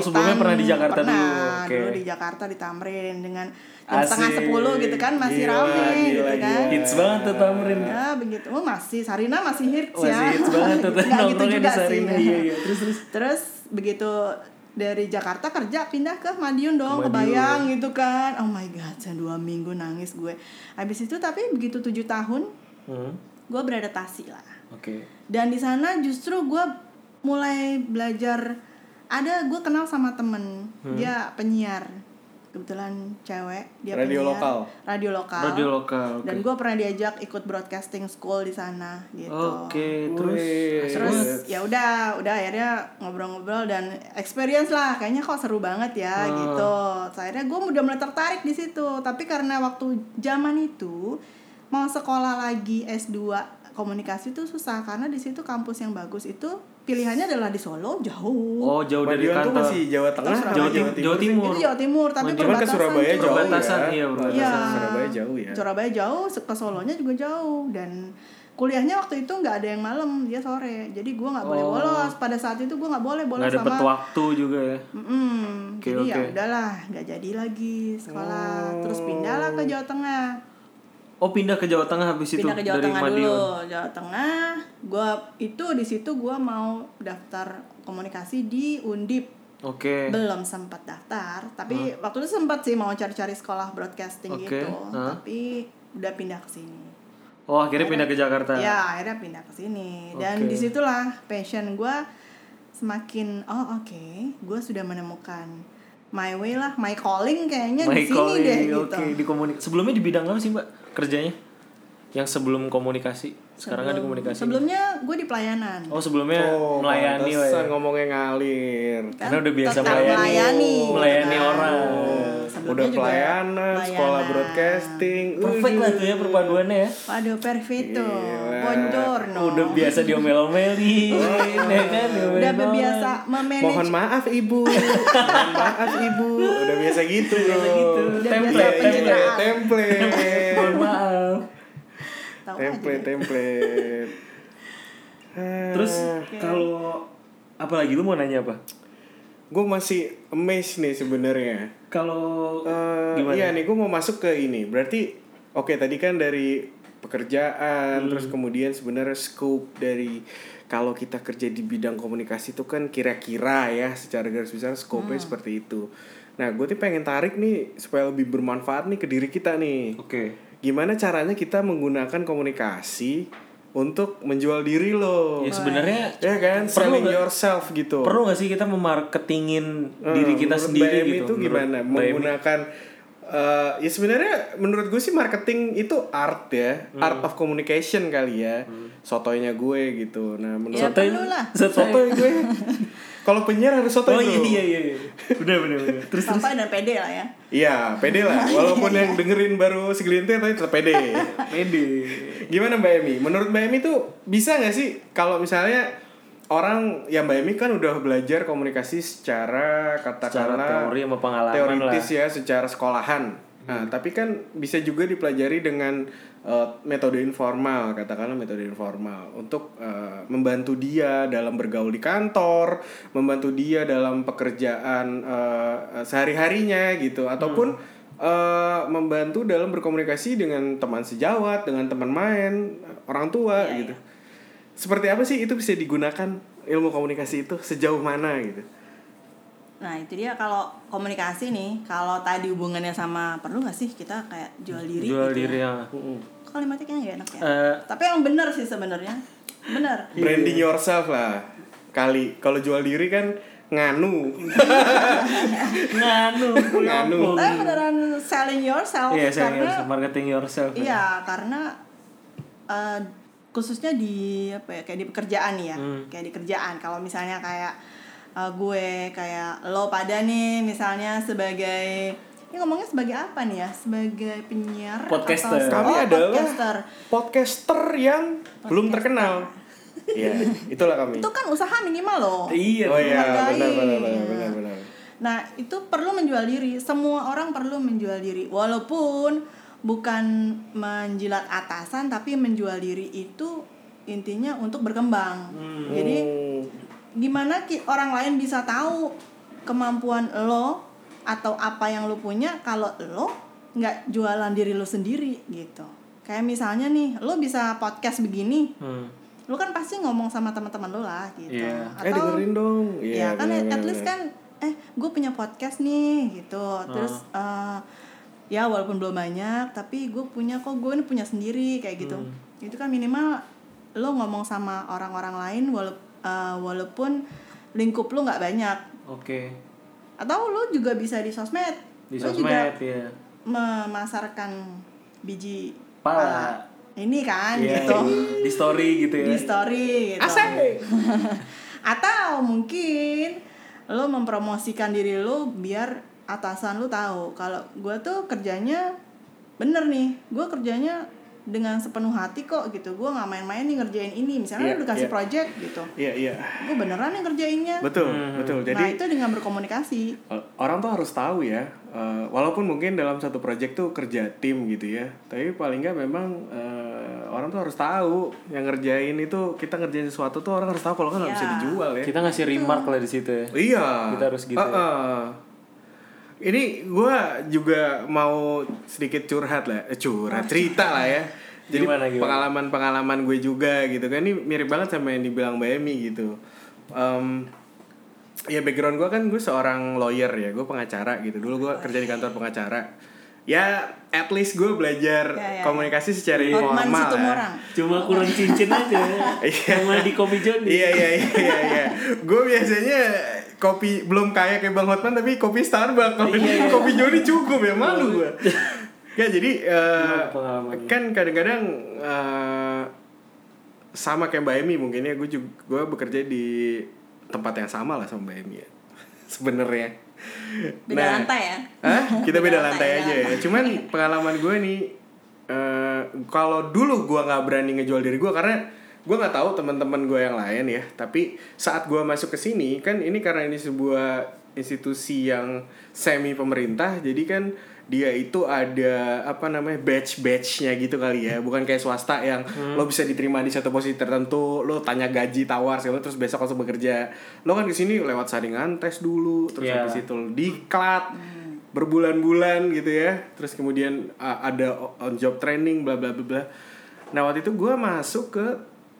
[SPEAKER 2] Hmm. Oh, sebelumnya pernah di Jakarta
[SPEAKER 3] Pernah,
[SPEAKER 2] dulu, oke.
[SPEAKER 3] di Jakarta di Tamrin dengan jam
[SPEAKER 2] Asik.
[SPEAKER 3] setengah sepuluh gitu kan masih
[SPEAKER 2] Iya,
[SPEAKER 1] Gila,
[SPEAKER 3] rame
[SPEAKER 1] gila,
[SPEAKER 3] gitu kan
[SPEAKER 1] gila.
[SPEAKER 2] Hits banget tuh Tamrin
[SPEAKER 3] ya begitu oh masih Sarina masih hits ya
[SPEAKER 2] Masih hits banget tuh
[SPEAKER 3] Nggak gitu
[SPEAKER 2] Nongkrongnya di
[SPEAKER 3] juga sih
[SPEAKER 2] Sarina Iya iya terus terus
[SPEAKER 3] terus begitu dari Jakarta kerja pindah ke Madiun dong kebayang gitu kan oh my god saya dua minggu nangis gue habis itu tapi begitu tujuh tahun
[SPEAKER 2] Hmm,
[SPEAKER 3] gue beradaptasi lah
[SPEAKER 2] Oke.
[SPEAKER 3] dan di sana justru gue mulai belajar ada gue kenal sama temen
[SPEAKER 2] Hmm.
[SPEAKER 3] dia penyiar kebetulan cewek dia
[SPEAKER 1] Radio
[SPEAKER 3] penyiar.
[SPEAKER 1] lokal.
[SPEAKER 3] radio lokal
[SPEAKER 2] Radio lokal.
[SPEAKER 3] dan
[SPEAKER 2] Oke.
[SPEAKER 3] gue pernah diajak ikut broadcasting school di sana gitu
[SPEAKER 2] Oke, terus
[SPEAKER 1] Wih.
[SPEAKER 2] asik
[SPEAKER 3] terus
[SPEAKER 2] banget.
[SPEAKER 3] ya udah udah akhirnya ngobrol-ngobrol dan experience lah kayaknya kok seru banget ya gitu So, akhirnya gue udah mulai tertarik di situ tapi karena waktu zaman itu mau sekolah lagi S2 komunikasi itu susah karena di situ kampus yang bagus itu pilihannya adalah di Solo jauh
[SPEAKER 2] Oh, jauh dari
[SPEAKER 1] Madiun tuh
[SPEAKER 2] kantor.
[SPEAKER 1] masih Jawa Tengah
[SPEAKER 3] Terus
[SPEAKER 1] apa
[SPEAKER 2] Jawa, Tim- Jawa
[SPEAKER 1] sih?
[SPEAKER 2] Timur.
[SPEAKER 3] itu Jawa Timur tapi
[SPEAKER 2] Cuman
[SPEAKER 1] Cuman ke
[SPEAKER 3] perbatasan
[SPEAKER 1] Surabaya
[SPEAKER 3] cuy.
[SPEAKER 1] jauh ya.
[SPEAKER 2] Perbatasan, iya,
[SPEAKER 1] Perbatasan
[SPEAKER 3] perbatasan.
[SPEAKER 1] Surabaya jauh ya.
[SPEAKER 3] Surabaya jauh, se- ke Solonya juga jauh dan kuliahnya waktu itu nggak ada yang malam, dia sore. Jadi gua nggak boleh
[SPEAKER 2] Oh.
[SPEAKER 3] bolos. Pada saat itu gua nggak boleh bolos
[SPEAKER 2] Nggak dapet
[SPEAKER 3] sama
[SPEAKER 2] waktu juga ya.
[SPEAKER 3] Mm-mm.
[SPEAKER 2] Oke,
[SPEAKER 3] jadi ya
[SPEAKER 2] oke.
[SPEAKER 3] udahlah, nggak jadi lagi sekolah. Terus pindahlah ke Jawa Tengah.
[SPEAKER 2] Oh, pindah ke Jawa Tengah habis itu
[SPEAKER 3] Pindah ke Jawa
[SPEAKER 2] dari
[SPEAKER 3] Tengah
[SPEAKER 2] Madiun.
[SPEAKER 3] dulu. Jawa Tengah, gua itu di situ gua mau daftar komunikasi di Undip.
[SPEAKER 2] Oke. Hmm.
[SPEAKER 3] belum sempat daftar tapi waktu itu sempat sih mau cari-cari sekolah broadcasting
[SPEAKER 2] Oke, hmm.
[SPEAKER 3] gitu
[SPEAKER 2] hah?
[SPEAKER 3] tapi udah pindah ke sini
[SPEAKER 2] Oh, akhirnya pindah ke Jakarta.
[SPEAKER 3] ya akhirnya pindah ke sini dan
[SPEAKER 2] Oke.
[SPEAKER 3] disitulah passion gue semakin oh oke gue sudah menemukan my way lah my calling kayaknya di sini
[SPEAKER 2] Michael,
[SPEAKER 3] deh
[SPEAKER 2] oke,
[SPEAKER 3] gitu
[SPEAKER 2] di komunikasi. Sebelumnya di bidang apa sih, Mbak? Kerjanya? Yang sebelum komunikasi. Sekarang kan di komunikasi.
[SPEAKER 3] sebelumnya gue di pelayanan
[SPEAKER 2] Oh, sebelumnya melayani lah ya.
[SPEAKER 1] pantesan ngomongnya ngalir.
[SPEAKER 2] Karena udah biasa
[SPEAKER 3] Kan tetap
[SPEAKER 2] melayani.
[SPEAKER 3] melayani, gitu
[SPEAKER 2] Melayani
[SPEAKER 3] kan.
[SPEAKER 2] orang.
[SPEAKER 1] udah
[SPEAKER 3] sebelumnya juga
[SPEAKER 1] pelayanan, sekolah
[SPEAKER 3] pelayanan.
[SPEAKER 1] broadcasting.
[SPEAKER 2] Perfect lah tuh ya
[SPEAKER 1] gitu.
[SPEAKER 2] perpaduannya ya.
[SPEAKER 3] Waduh, perfecto.
[SPEAKER 1] Gila.
[SPEAKER 3] Buongiorno.
[SPEAKER 2] Udah biasa diomel-omelin,
[SPEAKER 1] Oh, iya.
[SPEAKER 2] ya kan? Diomelin
[SPEAKER 3] udah
[SPEAKER 2] orang.
[SPEAKER 3] biasa memanage
[SPEAKER 1] Mohon maaf ibu, Mohon maaf ibu. Udah biasa gitu bro. Iya,
[SPEAKER 2] gitu.
[SPEAKER 3] Udah
[SPEAKER 2] Template,
[SPEAKER 3] biasa
[SPEAKER 2] template.
[SPEAKER 3] pencitraan.
[SPEAKER 1] template,
[SPEAKER 2] Mohon maaf.
[SPEAKER 3] tahu aja
[SPEAKER 1] template,
[SPEAKER 3] deh.
[SPEAKER 1] template. Eh,
[SPEAKER 2] Terus kalau apalagi lu mau nanya apa?
[SPEAKER 1] Gue masih amazed nih sebenarnya.
[SPEAKER 2] Kalau
[SPEAKER 1] Eh,
[SPEAKER 2] Gimana?
[SPEAKER 1] Iya nih, gue mau masuk ke ini. Berarti, oke tadi kan dari pekerjaan, terus
[SPEAKER 2] Hmm.
[SPEAKER 1] kemudian sebenarnya scope dari kalau kita kerja di bidang komunikasi itu kan kira-kira ya, secara garis besar scope-nya
[SPEAKER 2] Hmm.
[SPEAKER 1] seperti itu. Nah, gue tuh pengen tarik nih supaya lebih bermanfaat nih ke diri kita nih.
[SPEAKER 2] Oke.
[SPEAKER 1] Gimana caranya kita menggunakan komunikasi untuk menjual diri lo?
[SPEAKER 2] Ya sebenarnya
[SPEAKER 1] Ya kan,
[SPEAKER 2] Perlu
[SPEAKER 1] selling
[SPEAKER 2] nggak-
[SPEAKER 1] yourself gitu.
[SPEAKER 2] perlu nggak sih kita memarketingin
[SPEAKER 1] Eh,
[SPEAKER 2] diri kita
[SPEAKER 1] menurut
[SPEAKER 2] sendiri
[SPEAKER 1] Mbak Emi
[SPEAKER 2] gitu?
[SPEAKER 1] itu gimana
[SPEAKER 2] Menurut Mbak Emi.
[SPEAKER 1] menggunakan eh, ya sebenarnya menurut gue sih marketing itu art ya
[SPEAKER 2] Hmm.
[SPEAKER 1] art of communication kali ya sotoynya gue gitu nah menurut
[SPEAKER 3] Ya, perlu lah.
[SPEAKER 2] Iya. Sotoy.
[SPEAKER 1] sotoy gue kalau penyiar harus sotoy
[SPEAKER 2] Oh iya
[SPEAKER 1] dulu.
[SPEAKER 2] iya iya. iya. Benar benar benar. Terus
[SPEAKER 3] Sampai dan pede lah ya.
[SPEAKER 1] Iya, pede lah walaupun
[SPEAKER 2] Iya,
[SPEAKER 1] yang dengerin baru segelintir tapi tetap pede
[SPEAKER 2] pede.
[SPEAKER 1] gimana Mbak Emi menurut Mbak Emi tuh bisa nggak sih kalau misalnya orang ya Mbak Emi kan udah belajar komunikasi secara
[SPEAKER 2] Secara
[SPEAKER 1] katakanlah
[SPEAKER 2] teori sama pengalaman
[SPEAKER 1] teoritis
[SPEAKER 2] lah. Hmm.
[SPEAKER 1] ya secara sekolahan. Nah, tapi kan bisa juga dipelajari dengan eh, metode informal, katakanlah metode informal untuk eh, membantu dia dalam bergaul di kantor, membantu dia dalam pekerjaan eh, eh, sehari-harinya gitu ataupun
[SPEAKER 2] Hmm.
[SPEAKER 1] eh, membantu dalam berkomunikasi dengan teman sejawat, dengan teman main, orang tua
[SPEAKER 2] Iya,
[SPEAKER 1] gitu. Seperti apa sih itu bisa digunakan ilmu komunikasi itu sejauh mana gitu?
[SPEAKER 3] Nah itu dia kalau komunikasi nih, kalau tadi hubungannya sama perlu nggak sih kita kayak jual diri?
[SPEAKER 2] Jual
[SPEAKER 3] gitu
[SPEAKER 2] diri yang
[SPEAKER 3] Ya? Kalimatnya kayaknya nggak enak ya.
[SPEAKER 2] Eh,
[SPEAKER 3] Tapi yang bener sih sebenarnya, bener.
[SPEAKER 1] branding yourself lah kali kalau jual diri kan nganu
[SPEAKER 3] Iya.
[SPEAKER 2] nganu
[SPEAKER 1] Nganu.
[SPEAKER 3] Tapi beneran selling yourself
[SPEAKER 2] Hmm. Iya, selling
[SPEAKER 3] karena
[SPEAKER 2] yourself, marketing yourself. ya.
[SPEAKER 3] iya karena eh, khususnya di apa ya kayak di pekerjaan nih ya,
[SPEAKER 2] Hmm.
[SPEAKER 3] kayak di kerjaan. Kalau misalnya kayak eh, gue kayak lo pada nih misalnya sebagai ini ngomongnya sebagai apa nih ya? Sebagai penyiar atau-
[SPEAKER 2] Podcaster.
[SPEAKER 1] kami
[SPEAKER 3] Oh,
[SPEAKER 1] adalah
[SPEAKER 3] podcaster.
[SPEAKER 1] podcaster yang belum terkenal ya itulah kami
[SPEAKER 3] Itu kan usaha minimal loh.
[SPEAKER 2] Iya.
[SPEAKER 1] oh iya
[SPEAKER 3] menghargai.
[SPEAKER 1] benar benar benar benar benar
[SPEAKER 3] Nah, itu perlu menjual diri. Semua orang perlu menjual diri. Walaupun bukan menjilat atasan tapi menjual diri itu intinya untuk berkembang. Jadi
[SPEAKER 1] Hmm,
[SPEAKER 3] gimana ki- orang lain bisa tahu kemampuan lo atau apa yang lo punya kalau lo nggak jualan diri lo sendiri gitu. Kayak misalnya nih, lo bisa podcast begini,
[SPEAKER 2] Hmm.
[SPEAKER 3] lo kan pasti ngomong sama teman-teman lo lah gitu.
[SPEAKER 2] Iya.
[SPEAKER 1] eh dengerin dong
[SPEAKER 3] Ya, kan at- at least kan eh gue punya podcast nih gitu terus eh, ya walaupun belum banyak tapi gue punya kok gue ini punya sendiri kayak gitu
[SPEAKER 2] Hmm.
[SPEAKER 3] itu kan minimal lo ngomong sama orang-orang lain walaupun eh, walaupun lingkup lo nggak banyak
[SPEAKER 2] Oke.
[SPEAKER 3] atau lo juga bisa di sosmed
[SPEAKER 2] Di
[SPEAKER 3] Lo
[SPEAKER 2] sosmed
[SPEAKER 3] juga
[SPEAKER 2] ya.
[SPEAKER 3] memasarkan biji
[SPEAKER 2] Pala.
[SPEAKER 3] ini kan
[SPEAKER 2] Iya,
[SPEAKER 3] gitu
[SPEAKER 2] Di story gitu ya.
[SPEAKER 3] di story gitu. Atau mungkin lo mempromosikan diri lo biar atasan lo tahu kalau gue tuh kerjanya bener nih, gue kerjanya dengan sepenuh hati kok gitu, gue nggak main-main nih ngerjain ini, misalnya
[SPEAKER 1] Iya,
[SPEAKER 3] lo dikasih
[SPEAKER 1] iya.
[SPEAKER 3] project gitu,
[SPEAKER 1] Iya iya.
[SPEAKER 3] gue beneran nih ngerjainnya.
[SPEAKER 1] Betul, betul. Jadi
[SPEAKER 3] nah itu dengan berkomunikasi.
[SPEAKER 1] Eh, orang tuh harus tahu ya eh, walaupun mungkin dalam satu project tuh kerja tim gitu ya tapi paling nggak memang eh, orang tuh harus tahu yang ngerjain itu kita ngerjain sesuatu tuh orang harus tahu kalau nggak nggak bisa
[SPEAKER 3] Iya.
[SPEAKER 1] dijual ya
[SPEAKER 2] Kita ngasih remark lah di situ ya.
[SPEAKER 1] iya
[SPEAKER 2] Kita harus gitu ya.
[SPEAKER 1] Heeh. ini gue juga mau sedikit curhat lah eh, curhat cerita lah ya jadi
[SPEAKER 2] Oh, Gimana, gimana?
[SPEAKER 1] pengalaman-pengalaman gue juga gitu kan ini mirip banget sama yang dibilang Mbak Emi gitu Em, ya background gue kan gue seorang lawyer ya gue pengacara gitu dulu gue kerja di kantor pengacara ya at least gue belajar
[SPEAKER 3] Ya, ya, ya.
[SPEAKER 1] komunikasi secara
[SPEAKER 3] Hotman
[SPEAKER 1] informal ya.
[SPEAKER 3] Situmorang.
[SPEAKER 2] Cuma kurang cincin aja. Sama di kopi Joni.
[SPEAKER 1] Iya iya iya iya. iya. Gue biasanya kopi belum kaya kayak Bang Hotman tapi kopi Starbucks. Kopi, kopi Joni cukup ya malu gue. Ya jadi eh,
[SPEAKER 2] pengalaman.
[SPEAKER 1] kan kadang-kadang eh, sama kayak Mbak Emi mungkin ya gue juga gue bekerja di tempat yang sama lah sama Mbak Emi ya. Sebenarnya. Nah,
[SPEAKER 3] Beda lantai ya?
[SPEAKER 1] Hah? Kita beda
[SPEAKER 3] Beda
[SPEAKER 1] lantai
[SPEAKER 3] lantai,
[SPEAKER 1] aja
[SPEAKER 3] beda
[SPEAKER 1] ya. Cuman pengalaman gue nih eh, kalau dulu gue nggak berani ngejual diri gue karena gue nggak tahu teman-teman gue yang lain ya. Tapi saat gue masuk ke sini kan ini karena ini sebuah institusi yang semi pemerintah jadi kan dia itu ada apa namanya batch-batchnya gitu kali ya bukan kayak swasta yang lo bisa diterima di satu posisi tertentu lo tanya gaji tawar segala terus besok langsung bekerja lo kan kesini lewat saringan tes dulu terus
[SPEAKER 2] Iya.
[SPEAKER 1] habis itu lo gitu diklat berbulan-bulan gitu ya terus kemudian uh, ada on job training bla bla bla bla nah waktu itu gue masuk ke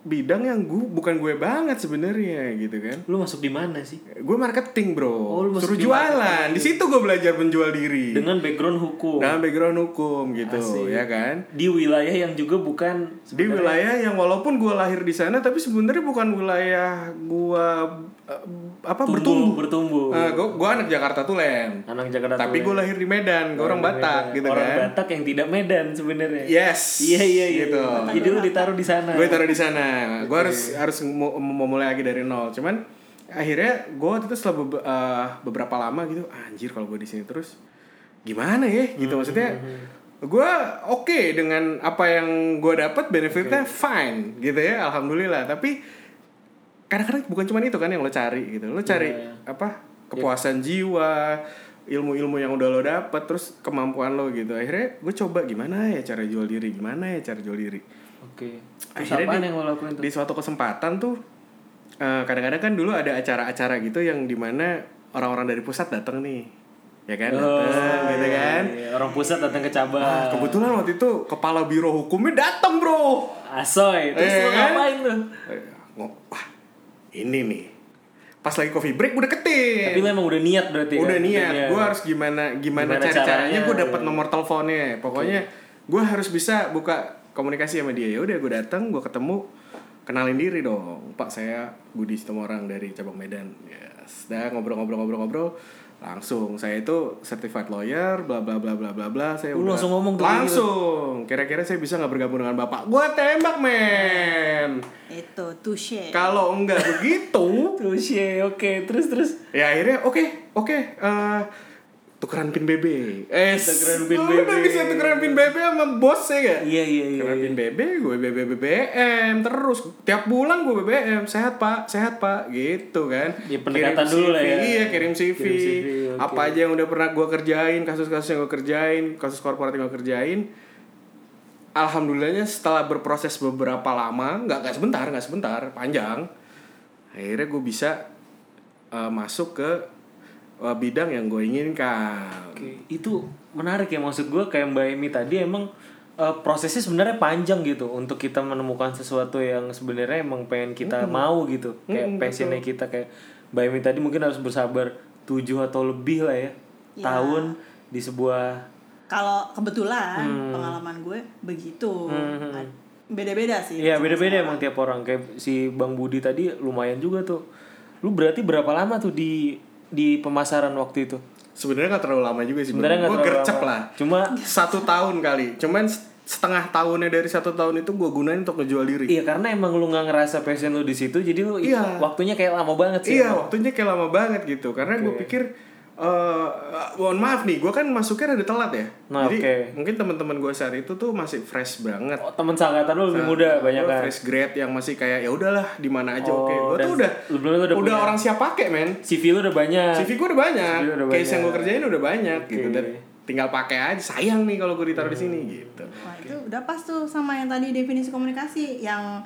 [SPEAKER 1] bidang yang gue bukan gue banget sebenarnya gitu kan
[SPEAKER 2] Lu masuk di mana sih?
[SPEAKER 1] gue marketing bro
[SPEAKER 2] Oh, lu
[SPEAKER 1] suruh
[SPEAKER 2] masuk di
[SPEAKER 1] jualan
[SPEAKER 2] marketing.
[SPEAKER 1] di situ gue belajar menjual diri
[SPEAKER 2] Dengan background hukum.
[SPEAKER 1] dalam background hukum gitu ya kan
[SPEAKER 2] Di wilayah yang juga bukan
[SPEAKER 1] di wilayah yang walaupun gue lahir di sana tapi sebenarnya bukan wilayah gue eh, apa
[SPEAKER 2] tumbuh,
[SPEAKER 1] bertumbuh
[SPEAKER 2] bertumbuh.
[SPEAKER 1] gue anak Jakarta Tulen
[SPEAKER 2] Anak Jakarta.
[SPEAKER 1] tapi
[SPEAKER 2] Tulen.
[SPEAKER 1] gue ya. lahir di Medan gue orang Batak gitu
[SPEAKER 2] orang
[SPEAKER 1] kan
[SPEAKER 2] Batak yang tidak Medan sebenarnya.
[SPEAKER 1] Yes.
[SPEAKER 2] Iya iya iya.
[SPEAKER 1] Gitu.
[SPEAKER 2] Jadi lu ditaruh di sana.
[SPEAKER 1] Gue taruh di sana. Gue harus harus mu- memulai lagi dari nol. Cuman akhirnya gue waktu itu setelah bebe- eh, beberapa lama gitu, anjir kalau gue di sini terus gimana ya? Gitu maksudnya. Gue oke dengan apa yang gue dapat benefitnya fine gitu ya, alhamdulillah. Tapi kadang-kadang bukan cuma itu kan yang lo cari gitu lo cari apa kepuasan jiwa ilmu-ilmu yang udah lo dapet terus kemampuan lo gitu akhirnya gue coba gimana ya cara jual diri gimana ya cara jual diri
[SPEAKER 2] Oke. Terus
[SPEAKER 1] Akhirnya
[SPEAKER 2] apaan
[SPEAKER 1] di-
[SPEAKER 2] yang lo lakuin tuh?
[SPEAKER 1] di suatu kesempatan tuh eh, kadang-kadang kan dulu ada acara-acara gitu yang dimana orang-orang dari pusat datang nih ya kan datang gitu
[SPEAKER 2] Oh, iya,
[SPEAKER 1] kan
[SPEAKER 2] iya. Orang pusat datang ke cabang.
[SPEAKER 1] Nah, kebetulan waktu itu kepala biro hukumnya datang bro
[SPEAKER 2] Asoy. Terus
[SPEAKER 1] Iya
[SPEAKER 2] lu
[SPEAKER 1] kan?
[SPEAKER 2] ngapain lu?
[SPEAKER 1] Eh, ngo- wah ini nih pas lagi coffee break gue deketin
[SPEAKER 2] Tapi lu emang udah niat berarti
[SPEAKER 1] udah
[SPEAKER 2] kan?
[SPEAKER 1] niat gue harus gimana gimana,
[SPEAKER 2] Gimana
[SPEAKER 1] cari caranya
[SPEAKER 2] caranya,
[SPEAKER 1] gue dapat
[SPEAKER 2] iya.
[SPEAKER 1] nomor teleponnya pokoknya gue harus bisa buka komunikasi sama dia ya udah gue datang gue ketemu kenalin diri dong pak saya Budi Situmorang dari cabang Medan yes dah ngobrol-ngobrol-ngobrol-ngobrol langsung saya itu certified lawyer bla bla bla bla bla bla saya
[SPEAKER 2] Lu
[SPEAKER 1] udah-
[SPEAKER 2] langsung ngomong tuh kayak gitu.
[SPEAKER 1] langsung kira-kira saya bisa nggak bergabung dengan bapak gue tembak men
[SPEAKER 3] Itu
[SPEAKER 2] Eh.
[SPEAKER 3] touche.
[SPEAKER 1] kalau nggak begitu
[SPEAKER 2] Terus ya, oke. Terus terus.
[SPEAKER 1] ya akhirnya oke oke eh, tukeran pin BB eh
[SPEAKER 2] Tukeran pin
[SPEAKER 1] lu udah
[SPEAKER 2] BB.
[SPEAKER 1] bisa tukeran pin BB sama bos ya gak
[SPEAKER 2] Iya iya iya.
[SPEAKER 1] tukeran
[SPEAKER 2] iya.
[SPEAKER 1] pin BB gue BB BBM terus tiap bulan gue BBM sehat pak sehat pak gitu kan
[SPEAKER 2] Ya, pendekatan dulu lah ya.
[SPEAKER 1] CV, iya kirim CV,
[SPEAKER 2] Kirim CV, oke.
[SPEAKER 1] apa aja yang udah pernah gue kerjain kasus-kasus yang gue kerjain kasus korporat yang gue kerjain alhamdulillahnya setelah berproses beberapa lama nggak nggak sebentar nggak sebentar panjang akhirnya gue bisa eh, masuk ke eh, bidang yang gue inginkan
[SPEAKER 2] Oke, itu menarik ya maksud gue kayak Mbak Emi tadi emang eh, prosesnya sebenarnya panjang gitu untuk kita menemukan sesuatu yang Hmm. sebenarnya emang pengen kita mau gitu kayak passionnya kita kayak Mbak Emi tadi mungkin harus bersabar tujuh atau lebih lah ya,
[SPEAKER 3] Iya.
[SPEAKER 2] tahun di sebuah
[SPEAKER 3] Kalau kebetulan
[SPEAKER 1] Hmm.
[SPEAKER 3] pengalaman gue begitu. Ad- Beda-beda sih.
[SPEAKER 2] Iya beda-beda emang tiap orang kayak si Bang Budi tadi lumayan juga tuh. Lu berarti berapa lama tuh di di pemasaran waktu itu?
[SPEAKER 1] Sebenarnya nggak terlalu lama juga sih.
[SPEAKER 2] Sebenarnya nggak
[SPEAKER 1] gue
[SPEAKER 2] terlalu
[SPEAKER 1] Hmm, gercep
[SPEAKER 2] lama.
[SPEAKER 1] lah.
[SPEAKER 2] Cuma
[SPEAKER 1] Satu tahun kali. Cuman setengah tahunnya dari satu tahun itu gue gunain untuk ngejual diri.
[SPEAKER 2] iya karena emang lu nggak ngerasa passion lu di situ, jadi lu itu
[SPEAKER 1] Iya.
[SPEAKER 2] waktunya kayak lama banget sih.
[SPEAKER 1] Iya, waktunya kayak lama banget gitu. Karena gue pikir, eh mohon maaf nih, gue kan masuknya rada telat ya.
[SPEAKER 2] Nah,
[SPEAKER 1] Jadi
[SPEAKER 2] oke.
[SPEAKER 1] mungkin teman-teman gue saat itu tuh masih fresh banget.
[SPEAKER 2] Oh, Temen seangkatan lu lebih muda banyak
[SPEAKER 1] Gua
[SPEAKER 2] kan.
[SPEAKER 1] Fresh grade yang masih kayak ya udahlah di mana aja
[SPEAKER 2] Oh,
[SPEAKER 1] oke. Gue
[SPEAKER 2] dan
[SPEAKER 1] tuh udah,
[SPEAKER 2] sebelumnya lu
[SPEAKER 1] udah,
[SPEAKER 2] udah punya-
[SPEAKER 1] orang siap pakai men.
[SPEAKER 2] CV lu udah banyak.
[SPEAKER 1] CV gue udah banyak,
[SPEAKER 2] CV udah
[SPEAKER 1] case
[SPEAKER 2] banyak.
[SPEAKER 1] yang gue kerjain udah banyak gitu
[SPEAKER 2] Oke. Hmm.
[SPEAKER 1] dan tinggal pakai aja. Sayang nih kalau gue ditaruh di sini gitu.
[SPEAKER 3] Wah, itu udah pas tuh sama yang tadi definisi komunikasi yang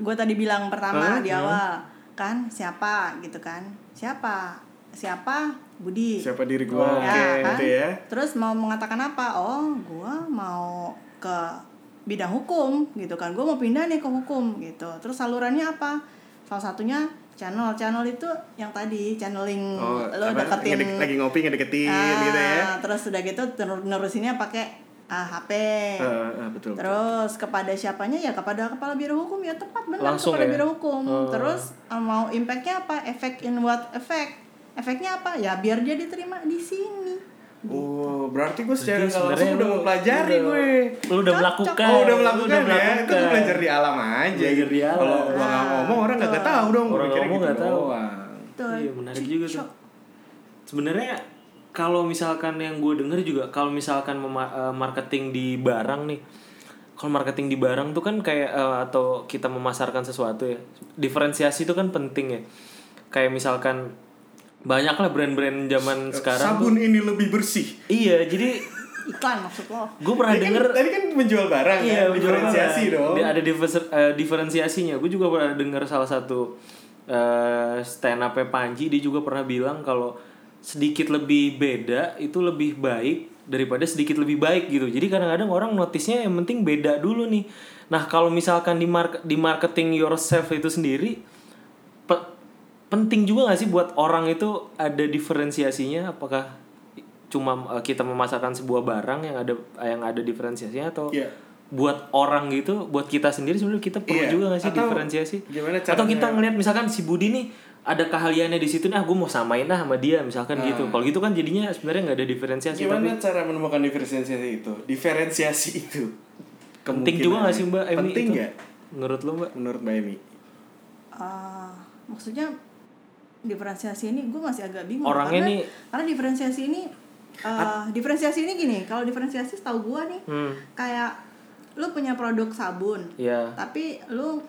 [SPEAKER 3] gue tadi bilang pertama di
[SPEAKER 1] Iya.
[SPEAKER 3] awal kan siapa gitu kan siapa siapa Budi
[SPEAKER 1] Siapa diri gue
[SPEAKER 2] Oh,
[SPEAKER 1] Oke,
[SPEAKER 3] Ya, kan?
[SPEAKER 1] gitu ya.
[SPEAKER 3] Terus mau mengatakan apa? Oh, gua mau ke bidang hukum gitu kan. Gua mau pindah nih ke hukum gitu. Terus salurannya apa? Salah satunya channel. Channel itu yang tadi channeling
[SPEAKER 1] Oh,
[SPEAKER 3] lo
[SPEAKER 1] apa,
[SPEAKER 3] Hmm, deketin
[SPEAKER 1] ngedek- lagi ngopi ngedeketin
[SPEAKER 3] Ah,
[SPEAKER 1] gitu ya.
[SPEAKER 3] Terus udah gitu ter- nerusinnya pakai ah, HP.
[SPEAKER 1] Eh, eh, betul.
[SPEAKER 3] Terus kepada siapanya ya kepada kepala biro hukum ya tepat benar
[SPEAKER 2] Langsung
[SPEAKER 3] kepada
[SPEAKER 2] ya?
[SPEAKER 3] biro hukum. Terus eh, mau impactnya apa? Efek in what effect? Efeknya apa? Ya biar dia diterima di sini.
[SPEAKER 1] Oh, berarti gue secara
[SPEAKER 2] Jadi
[SPEAKER 1] nggak langsung
[SPEAKER 2] sebenarnya
[SPEAKER 1] udah
[SPEAKER 2] lu-
[SPEAKER 1] mempelajari
[SPEAKER 2] lu udah-
[SPEAKER 1] gue.
[SPEAKER 2] Lu udah
[SPEAKER 3] Cocok.
[SPEAKER 2] melakukan.
[SPEAKER 1] Oh, udah
[SPEAKER 2] lu
[SPEAKER 1] melakukan ya. Itu gue belajar di alam aja. gitu.
[SPEAKER 2] Belajar di alam.
[SPEAKER 1] Kalau gue
[SPEAKER 3] Ah,
[SPEAKER 1] nggak ngomong orang nggak tahu dong. Gue
[SPEAKER 2] Orang
[SPEAKER 1] mikirnya
[SPEAKER 2] ngomong
[SPEAKER 1] gitu
[SPEAKER 2] nggak tahu.
[SPEAKER 1] doang.
[SPEAKER 3] Tuh.
[SPEAKER 2] Iya menarik juga tuh. Sebenarnya kalau misalkan yang gue denger juga kalau misalkan mema- eh, marketing di barang nih, kalau marketing di barang tuh kan kayak eh, atau kita memasarkan sesuatu ya, diferensiasi itu kan penting ya. Kayak misalkan banyak lah brand-brand zaman sekarang.
[SPEAKER 1] Sabun ini lebih bersih.
[SPEAKER 2] Iya, jadi
[SPEAKER 3] Iklan maksud lo.
[SPEAKER 2] gue
[SPEAKER 1] Tadi
[SPEAKER 2] pernah
[SPEAKER 1] kan,
[SPEAKER 2] denger
[SPEAKER 1] tadi kan menjual barang
[SPEAKER 2] Iya,
[SPEAKER 1] kan,
[SPEAKER 2] betul
[SPEAKER 1] diferensiasi
[SPEAKER 2] banget.
[SPEAKER 1] dong.
[SPEAKER 2] Dia ada diverse- eh, diferensiasinya. Gue juga pernah dengar salah satu eh, stand up Panji dia juga pernah bilang kalau sedikit lebih beda itu lebih baik daripada sedikit lebih baik gitu. Jadi kadang-kadang orang notisnya yang penting beda dulu nih. Nah, kalau misalkan di mark- di marketing yourself itu sendiri pe- penting juga gak sih buat orang itu ada diferensiasinya apakah cuma eh, kita memasarkan sebuah barang yang ada yang ada diferensiasinya atau
[SPEAKER 1] Iya.
[SPEAKER 2] buat orang gitu, buat kita sendiri sebenarnya kita perlu
[SPEAKER 1] Iya.
[SPEAKER 2] juga nggak sih
[SPEAKER 1] Atau
[SPEAKER 2] diferensiasi?
[SPEAKER 1] gimana
[SPEAKER 2] Atau kita
[SPEAKER 1] caranya?
[SPEAKER 2] ngelihat misalkan si Budi nih ada keahliannya di situ, nah gue mau samain lah sama dia misalkan gitu. Kalau gitu kan jadinya sebenarnya nggak ada diferensiasi. Tapi
[SPEAKER 1] Ah. Gimana cara menemukan diferensiasi itu? Diferensiasi itu.
[SPEAKER 2] penting juga nggak sih Mbak Emi?
[SPEAKER 1] Penting
[SPEAKER 2] itu?
[SPEAKER 1] nggak
[SPEAKER 2] Menurut lo Mbak?
[SPEAKER 1] menurut Mbak Emi?
[SPEAKER 3] Ah, maksudnya diferensiasi ini gue masih agak bingung.
[SPEAKER 2] Orangnya
[SPEAKER 3] karena,
[SPEAKER 2] nih-
[SPEAKER 3] karena diferensiasi ini ah, diferensiasi ini gini, kalau diferensiasi setahu gue nih
[SPEAKER 2] Hmm,
[SPEAKER 3] kayak lu punya produk sabun,
[SPEAKER 2] ya.
[SPEAKER 3] tapi lu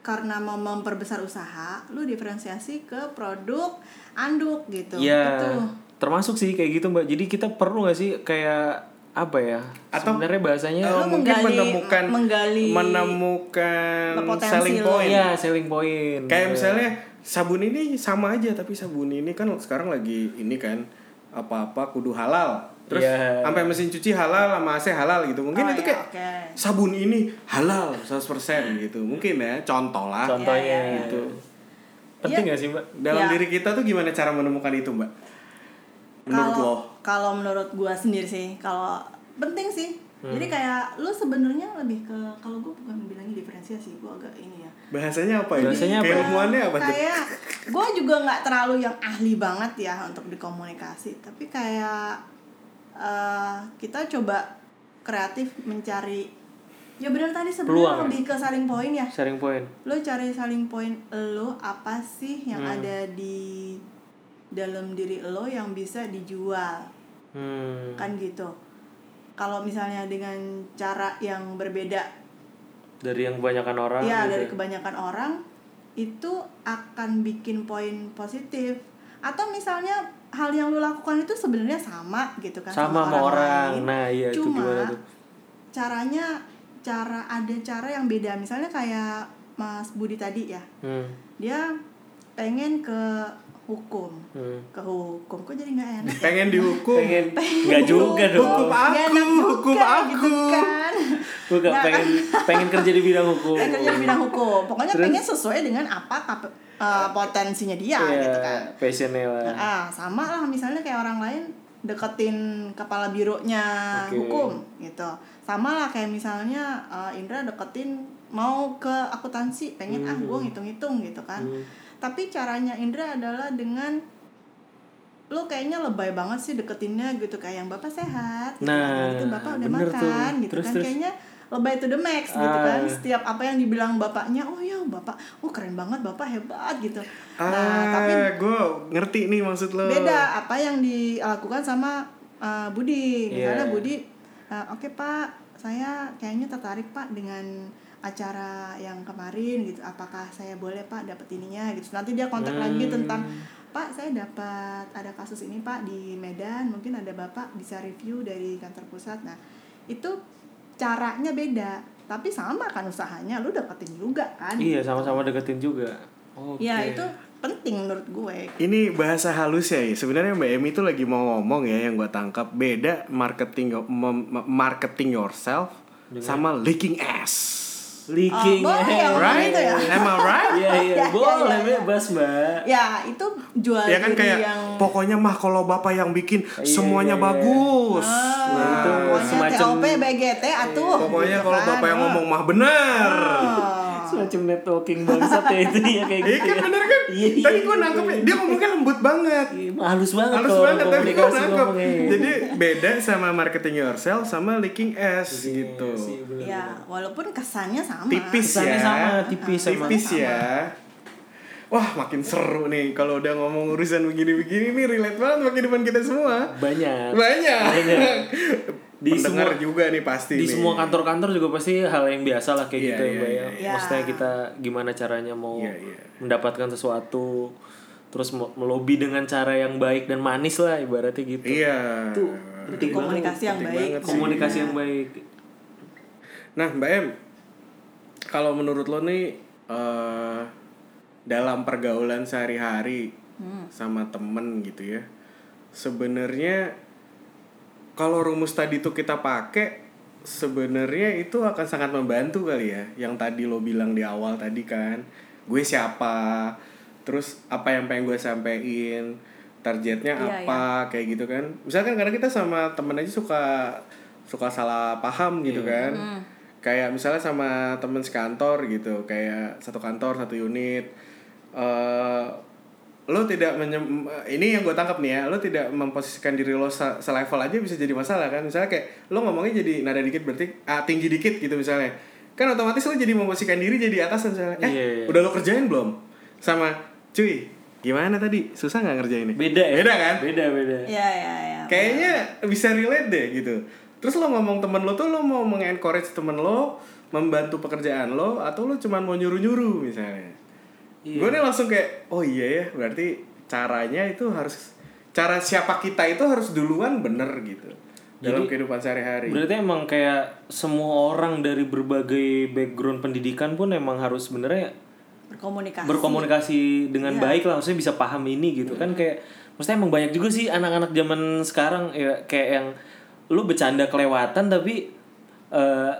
[SPEAKER 3] karena mau memperbesar usaha, lu diferensiasi ke produk anduk gitu.
[SPEAKER 2] Ya,
[SPEAKER 3] Itu.
[SPEAKER 2] termasuk sih kayak gitu Mbak. Jadi kita perlu nggak sih kayak apa ya?
[SPEAKER 1] Atau-
[SPEAKER 2] sebenarnya bahasanya
[SPEAKER 1] Eh,
[SPEAKER 3] Iya, Lu
[SPEAKER 1] mungkin
[SPEAKER 3] menggali-
[SPEAKER 1] menemukan
[SPEAKER 3] menggali
[SPEAKER 1] menemukan
[SPEAKER 3] potensi
[SPEAKER 1] selling
[SPEAKER 3] lo. iya.
[SPEAKER 1] point.
[SPEAKER 2] ya selling point.
[SPEAKER 1] Kayak misalnya sabun ini sama aja tapi sabun ini kan sekarang lagi ini kan apa-apa kudu halal. Terus
[SPEAKER 2] Iya.
[SPEAKER 1] sampai mesin cuci halal sama AC halal gitu. Mungkin
[SPEAKER 3] Oh,
[SPEAKER 1] itu
[SPEAKER 3] ya,
[SPEAKER 1] kayak
[SPEAKER 3] oke.
[SPEAKER 1] sabun ini halal 100% gitu. Mungkin ya contoh lah.
[SPEAKER 2] contohnya
[SPEAKER 3] Ya, ya, ya.
[SPEAKER 2] gitu. Penting nggak sih Mbak?
[SPEAKER 1] Dalam
[SPEAKER 3] Ya.
[SPEAKER 1] diri kita tuh gimana cara menemukan itu, Mbak? Menurut
[SPEAKER 3] kalau
[SPEAKER 1] lo?
[SPEAKER 3] kalau menurut gua sendiri sih kalau penting sih
[SPEAKER 1] Hmm.
[SPEAKER 3] jadi kayak lu sebenarnya lebih ke kalau gua bukan bilangnya diferensiasi gua agak ini ya
[SPEAKER 1] Bahasanya apa ya?
[SPEAKER 2] Bahasanya apa ya?
[SPEAKER 1] Keilmuannya apa tuh?
[SPEAKER 3] kayak gua juga nggak terlalu yang ahli banget ya untuk dikomunikasi tapi kayak eh, kita coba kreatif mencari ya benar tadi sebenarnya
[SPEAKER 2] Peluang.
[SPEAKER 3] lebih ke saling poin ya
[SPEAKER 2] Sharing point.
[SPEAKER 3] lo cari saling point lo apa sih yang
[SPEAKER 2] Hmm.
[SPEAKER 3] ada di dalam diri lo yang bisa dijual
[SPEAKER 2] Hmm.
[SPEAKER 3] kan gitu kalau misalnya dengan cara yang berbeda
[SPEAKER 2] dari yang kebanyakan orang
[SPEAKER 3] ya
[SPEAKER 2] gitu.
[SPEAKER 3] dari kebanyakan orang itu akan bikin poin positif atau misalnya hal yang lo lakukan itu sebenarnya sama gitu kan
[SPEAKER 2] sama sama orang,
[SPEAKER 3] lain.
[SPEAKER 2] nah iya itu
[SPEAKER 3] Cuma,
[SPEAKER 2] gimana tuh
[SPEAKER 3] caranya cara ada cara yang beda misalnya kayak Mas Budi tadi ya
[SPEAKER 2] hmm.
[SPEAKER 3] dia pengen ke hukum
[SPEAKER 2] Hmm.
[SPEAKER 3] ke hukum kok jadi nggak enak
[SPEAKER 1] Pengen dihukum.
[SPEAKER 2] pengen nggak juga dong
[SPEAKER 1] Hukum aku,
[SPEAKER 3] Nggak enak juga,
[SPEAKER 1] hukum aku.
[SPEAKER 3] gitu kan.
[SPEAKER 2] Bukan,
[SPEAKER 3] Nggak,
[SPEAKER 2] pengen pengen kerja di bidang hukum.
[SPEAKER 3] Pengen kerja di bidang hukum. Pokoknya
[SPEAKER 2] Terus?
[SPEAKER 3] pengen sesuai dengan apa kap- eh, potensinya dia
[SPEAKER 2] Iya,
[SPEAKER 3] gitu kan.
[SPEAKER 2] passionnya lah.
[SPEAKER 3] Ah, sama lah misalnya kayak orang lain deketin kepala bironya
[SPEAKER 2] Oke.
[SPEAKER 3] hukum gitu. Sama lah kayak misalnya eh, Indra deketin mau ke akuntansi, pengen ah
[SPEAKER 2] Hmm.
[SPEAKER 3] gue ngitung-ngitung gitu kan. Tapi caranya Indra adalah dengan lu kayaknya lebay banget sih deketinnya gitu kayak yang bapak sehat gitu
[SPEAKER 2] Nah,
[SPEAKER 3] kan. itu bapak udah
[SPEAKER 2] bener tuh.
[SPEAKER 3] makan gitu
[SPEAKER 2] Terus,
[SPEAKER 3] kan
[SPEAKER 2] terus.
[SPEAKER 3] kayaknya lebay to the max gitu kan
[SPEAKER 2] Ah.
[SPEAKER 3] setiap apa yang dibilang bapaknya oh ya bapak oh keren banget bapak hebat gitu
[SPEAKER 1] Ah,
[SPEAKER 3] nah tapi
[SPEAKER 1] gue ngerti nih maksud lo.
[SPEAKER 3] beda apa yang dilakukan sama uh, Budi misalnya
[SPEAKER 2] Iya.
[SPEAKER 3] Budi uh, oke Pak saya kayaknya tertarik Pak dengan acara yang kemarin gitu apakah saya boleh Pak dapat ininya gitu nanti dia kontak lagi
[SPEAKER 2] Hmm.
[SPEAKER 3] tentang Pak saya dapat ada kasus ini Pak di Medan mungkin ada Bapak bisa review dari kantor pusat nah itu caranya beda tapi sama kan usahanya lu dapetin juga kan
[SPEAKER 2] Iya, sama-sama deketin juga. Oke.
[SPEAKER 3] ya itu penting menurut gue
[SPEAKER 1] Ini bahasa halus ya. ya. Sebenarnya Mbak Emi itu lagi mau ngomong ya yang gue tangkap beda marketing mem- marketing yourself sama leaking ass.
[SPEAKER 2] leaking.
[SPEAKER 3] Oh, boleh ya, Ngomong
[SPEAKER 1] Right?
[SPEAKER 3] itu ya?
[SPEAKER 1] Am I right?
[SPEAKER 2] Iya, iya,
[SPEAKER 3] Ya,
[SPEAKER 2] boleh
[SPEAKER 3] ya, ya, ya.
[SPEAKER 2] bebas, Mbak.
[SPEAKER 3] ya itu jual
[SPEAKER 1] ya kan
[SPEAKER 3] diri
[SPEAKER 1] kayak
[SPEAKER 3] yang
[SPEAKER 1] pokoknya mah kalau bapak yang bikin
[SPEAKER 2] Iya,
[SPEAKER 1] semuanya
[SPEAKER 2] iya, iya.
[SPEAKER 1] bagus.
[SPEAKER 2] Nah, itu
[SPEAKER 3] pokoknya
[SPEAKER 2] semacam
[SPEAKER 3] TOP BGT atuh
[SPEAKER 1] Pokoknya
[SPEAKER 3] Ah. gitu
[SPEAKER 1] kalau
[SPEAKER 3] kan.
[SPEAKER 1] bapak yang ngomong mah bener.
[SPEAKER 3] Oh.
[SPEAKER 2] semacam networking bangsat ya itu ya kayak
[SPEAKER 1] Iya
[SPEAKER 2] gitu.
[SPEAKER 1] kan
[SPEAKER 2] ya.
[SPEAKER 1] bener kan?
[SPEAKER 2] Iya, iya,
[SPEAKER 1] Tadi gue
[SPEAKER 2] iya,
[SPEAKER 1] nangkepnya
[SPEAKER 2] iya.
[SPEAKER 1] dia ngomongnya lembut banget.
[SPEAKER 2] Iya, halus banget
[SPEAKER 1] Harus
[SPEAKER 2] kalau
[SPEAKER 1] banget tapi gue
[SPEAKER 2] komunikasi
[SPEAKER 1] nangkep.
[SPEAKER 2] ngomongnya.
[SPEAKER 1] Jadi beda sama marketing yourself sama leaking ass
[SPEAKER 2] Iya
[SPEAKER 1] gitu.
[SPEAKER 2] sih, bener.
[SPEAKER 3] ya walaupun kesannya sama
[SPEAKER 1] Tipis ya.
[SPEAKER 2] Kesannya sama, tipis sama.
[SPEAKER 1] Tipis ya. Wah makin seru nih kalau udah ngomong urusan begini-begini nih relate banget bagi depan kita semua.
[SPEAKER 2] Banyak.
[SPEAKER 1] Banyak.
[SPEAKER 2] Banyak. Di
[SPEAKER 1] Pendengar
[SPEAKER 2] semua-
[SPEAKER 1] juga nih pasti
[SPEAKER 2] di
[SPEAKER 1] nih.
[SPEAKER 2] semua kantor-kantor juga pasti hal yang biasa lah kayak
[SPEAKER 1] Iya,
[SPEAKER 2] gitu ya,
[SPEAKER 1] iya,
[SPEAKER 2] Mbak ya.
[SPEAKER 1] iya,
[SPEAKER 3] iya.
[SPEAKER 2] Maksudnya kita gimana caranya mau
[SPEAKER 1] Iya, iya.
[SPEAKER 2] mendapatkan sesuatu terus mau- melobi dengan cara yang baik dan manis lah ibaratnya gitu.
[SPEAKER 1] Iya.
[SPEAKER 2] Itu penting banget.
[SPEAKER 3] komunikasi yang
[SPEAKER 1] Penting
[SPEAKER 3] baik
[SPEAKER 1] banget sih.
[SPEAKER 2] Komunikasi yang baik.
[SPEAKER 1] Nah, Mbak Em, kalau menurut lo nih eh, dalam pergaulan sehari-hari sama temen gitu ya, sebenarnya kalau rumus tadi tuh kita pakai, sebenarnya itu akan sangat membantu kali ya. Yang tadi lo bilang di awal tadi kan, gue siapa, terus apa yang pengen gue sampein, targetnya
[SPEAKER 3] Iya,
[SPEAKER 1] apa, kayak gitu kan misalkan karena kita sama temen aja suka suka salah paham gitu
[SPEAKER 2] Iya.
[SPEAKER 1] kan
[SPEAKER 3] Hmm.
[SPEAKER 1] kayak misalnya sama temen sekantor gitu kayak satu kantor satu unit eh lo tidak menyem- ini yang gue tangkap nih ya lo tidak memposisikan diri lo se- selevel aja bisa jadi masalah kan misalnya kayak lo ngomongnya jadi nada dikit berarti ah, tinggi dikit gitu misalnya kan otomatis lo jadi memposisikan diri jadi atasan misalnya eh
[SPEAKER 2] Iya, iya.
[SPEAKER 1] udah lo kerjain belum sama cuy gimana tadi susah nggak ngerjainnya
[SPEAKER 2] Beda ya.
[SPEAKER 1] beda kan
[SPEAKER 2] Beda beda.
[SPEAKER 3] ya ya ya
[SPEAKER 1] kayaknya bisa relate deh gitu terus lo ngomong temen lo tuh lo mau mengencourage temen lo membantu pekerjaan lo atau lo cuman mau nyuruh nyuruh misalnya
[SPEAKER 2] Iya.
[SPEAKER 1] gue nih langsung kayak oh iya ya berarti caranya itu harus cara siapa kita itu harus duluan bener gitu dalam kehidupan sehari-hari
[SPEAKER 2] Berarti emang kayak semua orang dari berbagai background pendidikan pun emang harus sebenarnya
[SPEAKER 1] Iya.
[SPEAKER 3] berkomunikasi
[SPEAKER 2] berkomunikasi dengan baik lah maksudnya bisa paham ini gitu
[SPEAKER 1] Iya.
[SPEAKER 2] kan kayak maksudnya emang banyak juga sih anak-anak zaman sekarang ya kayak yang lu bercanda kelewatan tapi eh,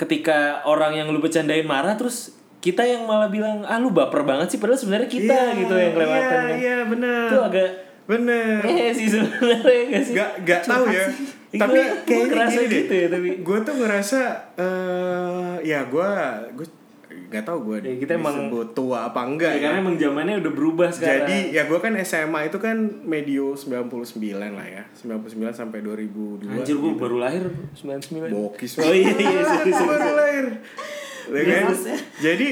[SPEAKER 2] ketika orang yang lu bercandain marah terus kita yang malah bilang ah lu baper banget sih padahal sebenarnya kita
[SPEAKER 1] Iya,
[SPEAKER 2] gitu yang kelewatan
[SPEAKER 1] iya
[SPEAKER 2] kan.
[SPEAKER 1] iya bener
[SPEAKER 2] itu agak
[SPEAKER 1] bener
[SPEAKER 2] eh sih sebenarnya gak sih
[SPEAKER 1] Gak, gak tahu ya.
[SPEAKER 2] Gua-
[SPEAKER 1] tapi
[SPEAKER 2] gua
[SPEAKER 1] kayaknya
[SPEAKER 2] ngerasa
[SPEAKER 1] gini deh.
[SPEAKER 2] gitu ya, tapi-
[SPEAKER 1] Gue tuh ngerasa eh ya gue gue nggak tahu gue
[SPEAKER 2] Ya, kita emang-
[SPEAKER 1] disebut tua apa enggak
[SPEAKER 2] Ya,
[SPEAKER 1] ya.
[SPEAKER 2] karena emang zamannya udah berubah sekarang
[SPEAKER 1] Jadi ya gue kan SMA itu kan medio 99 lah ya. 99 sampai 2002.
[SPEAKER 2] anjir gua baru lahir 99
[SPEAKER 1] Bokis
[SPEAKER 2] oh iya iya
[SPEAKER 1] Kan
[SPEAKER 2] sorry, sorry.
[SPEAKER 1] baru lahir. Ya kan? Jadi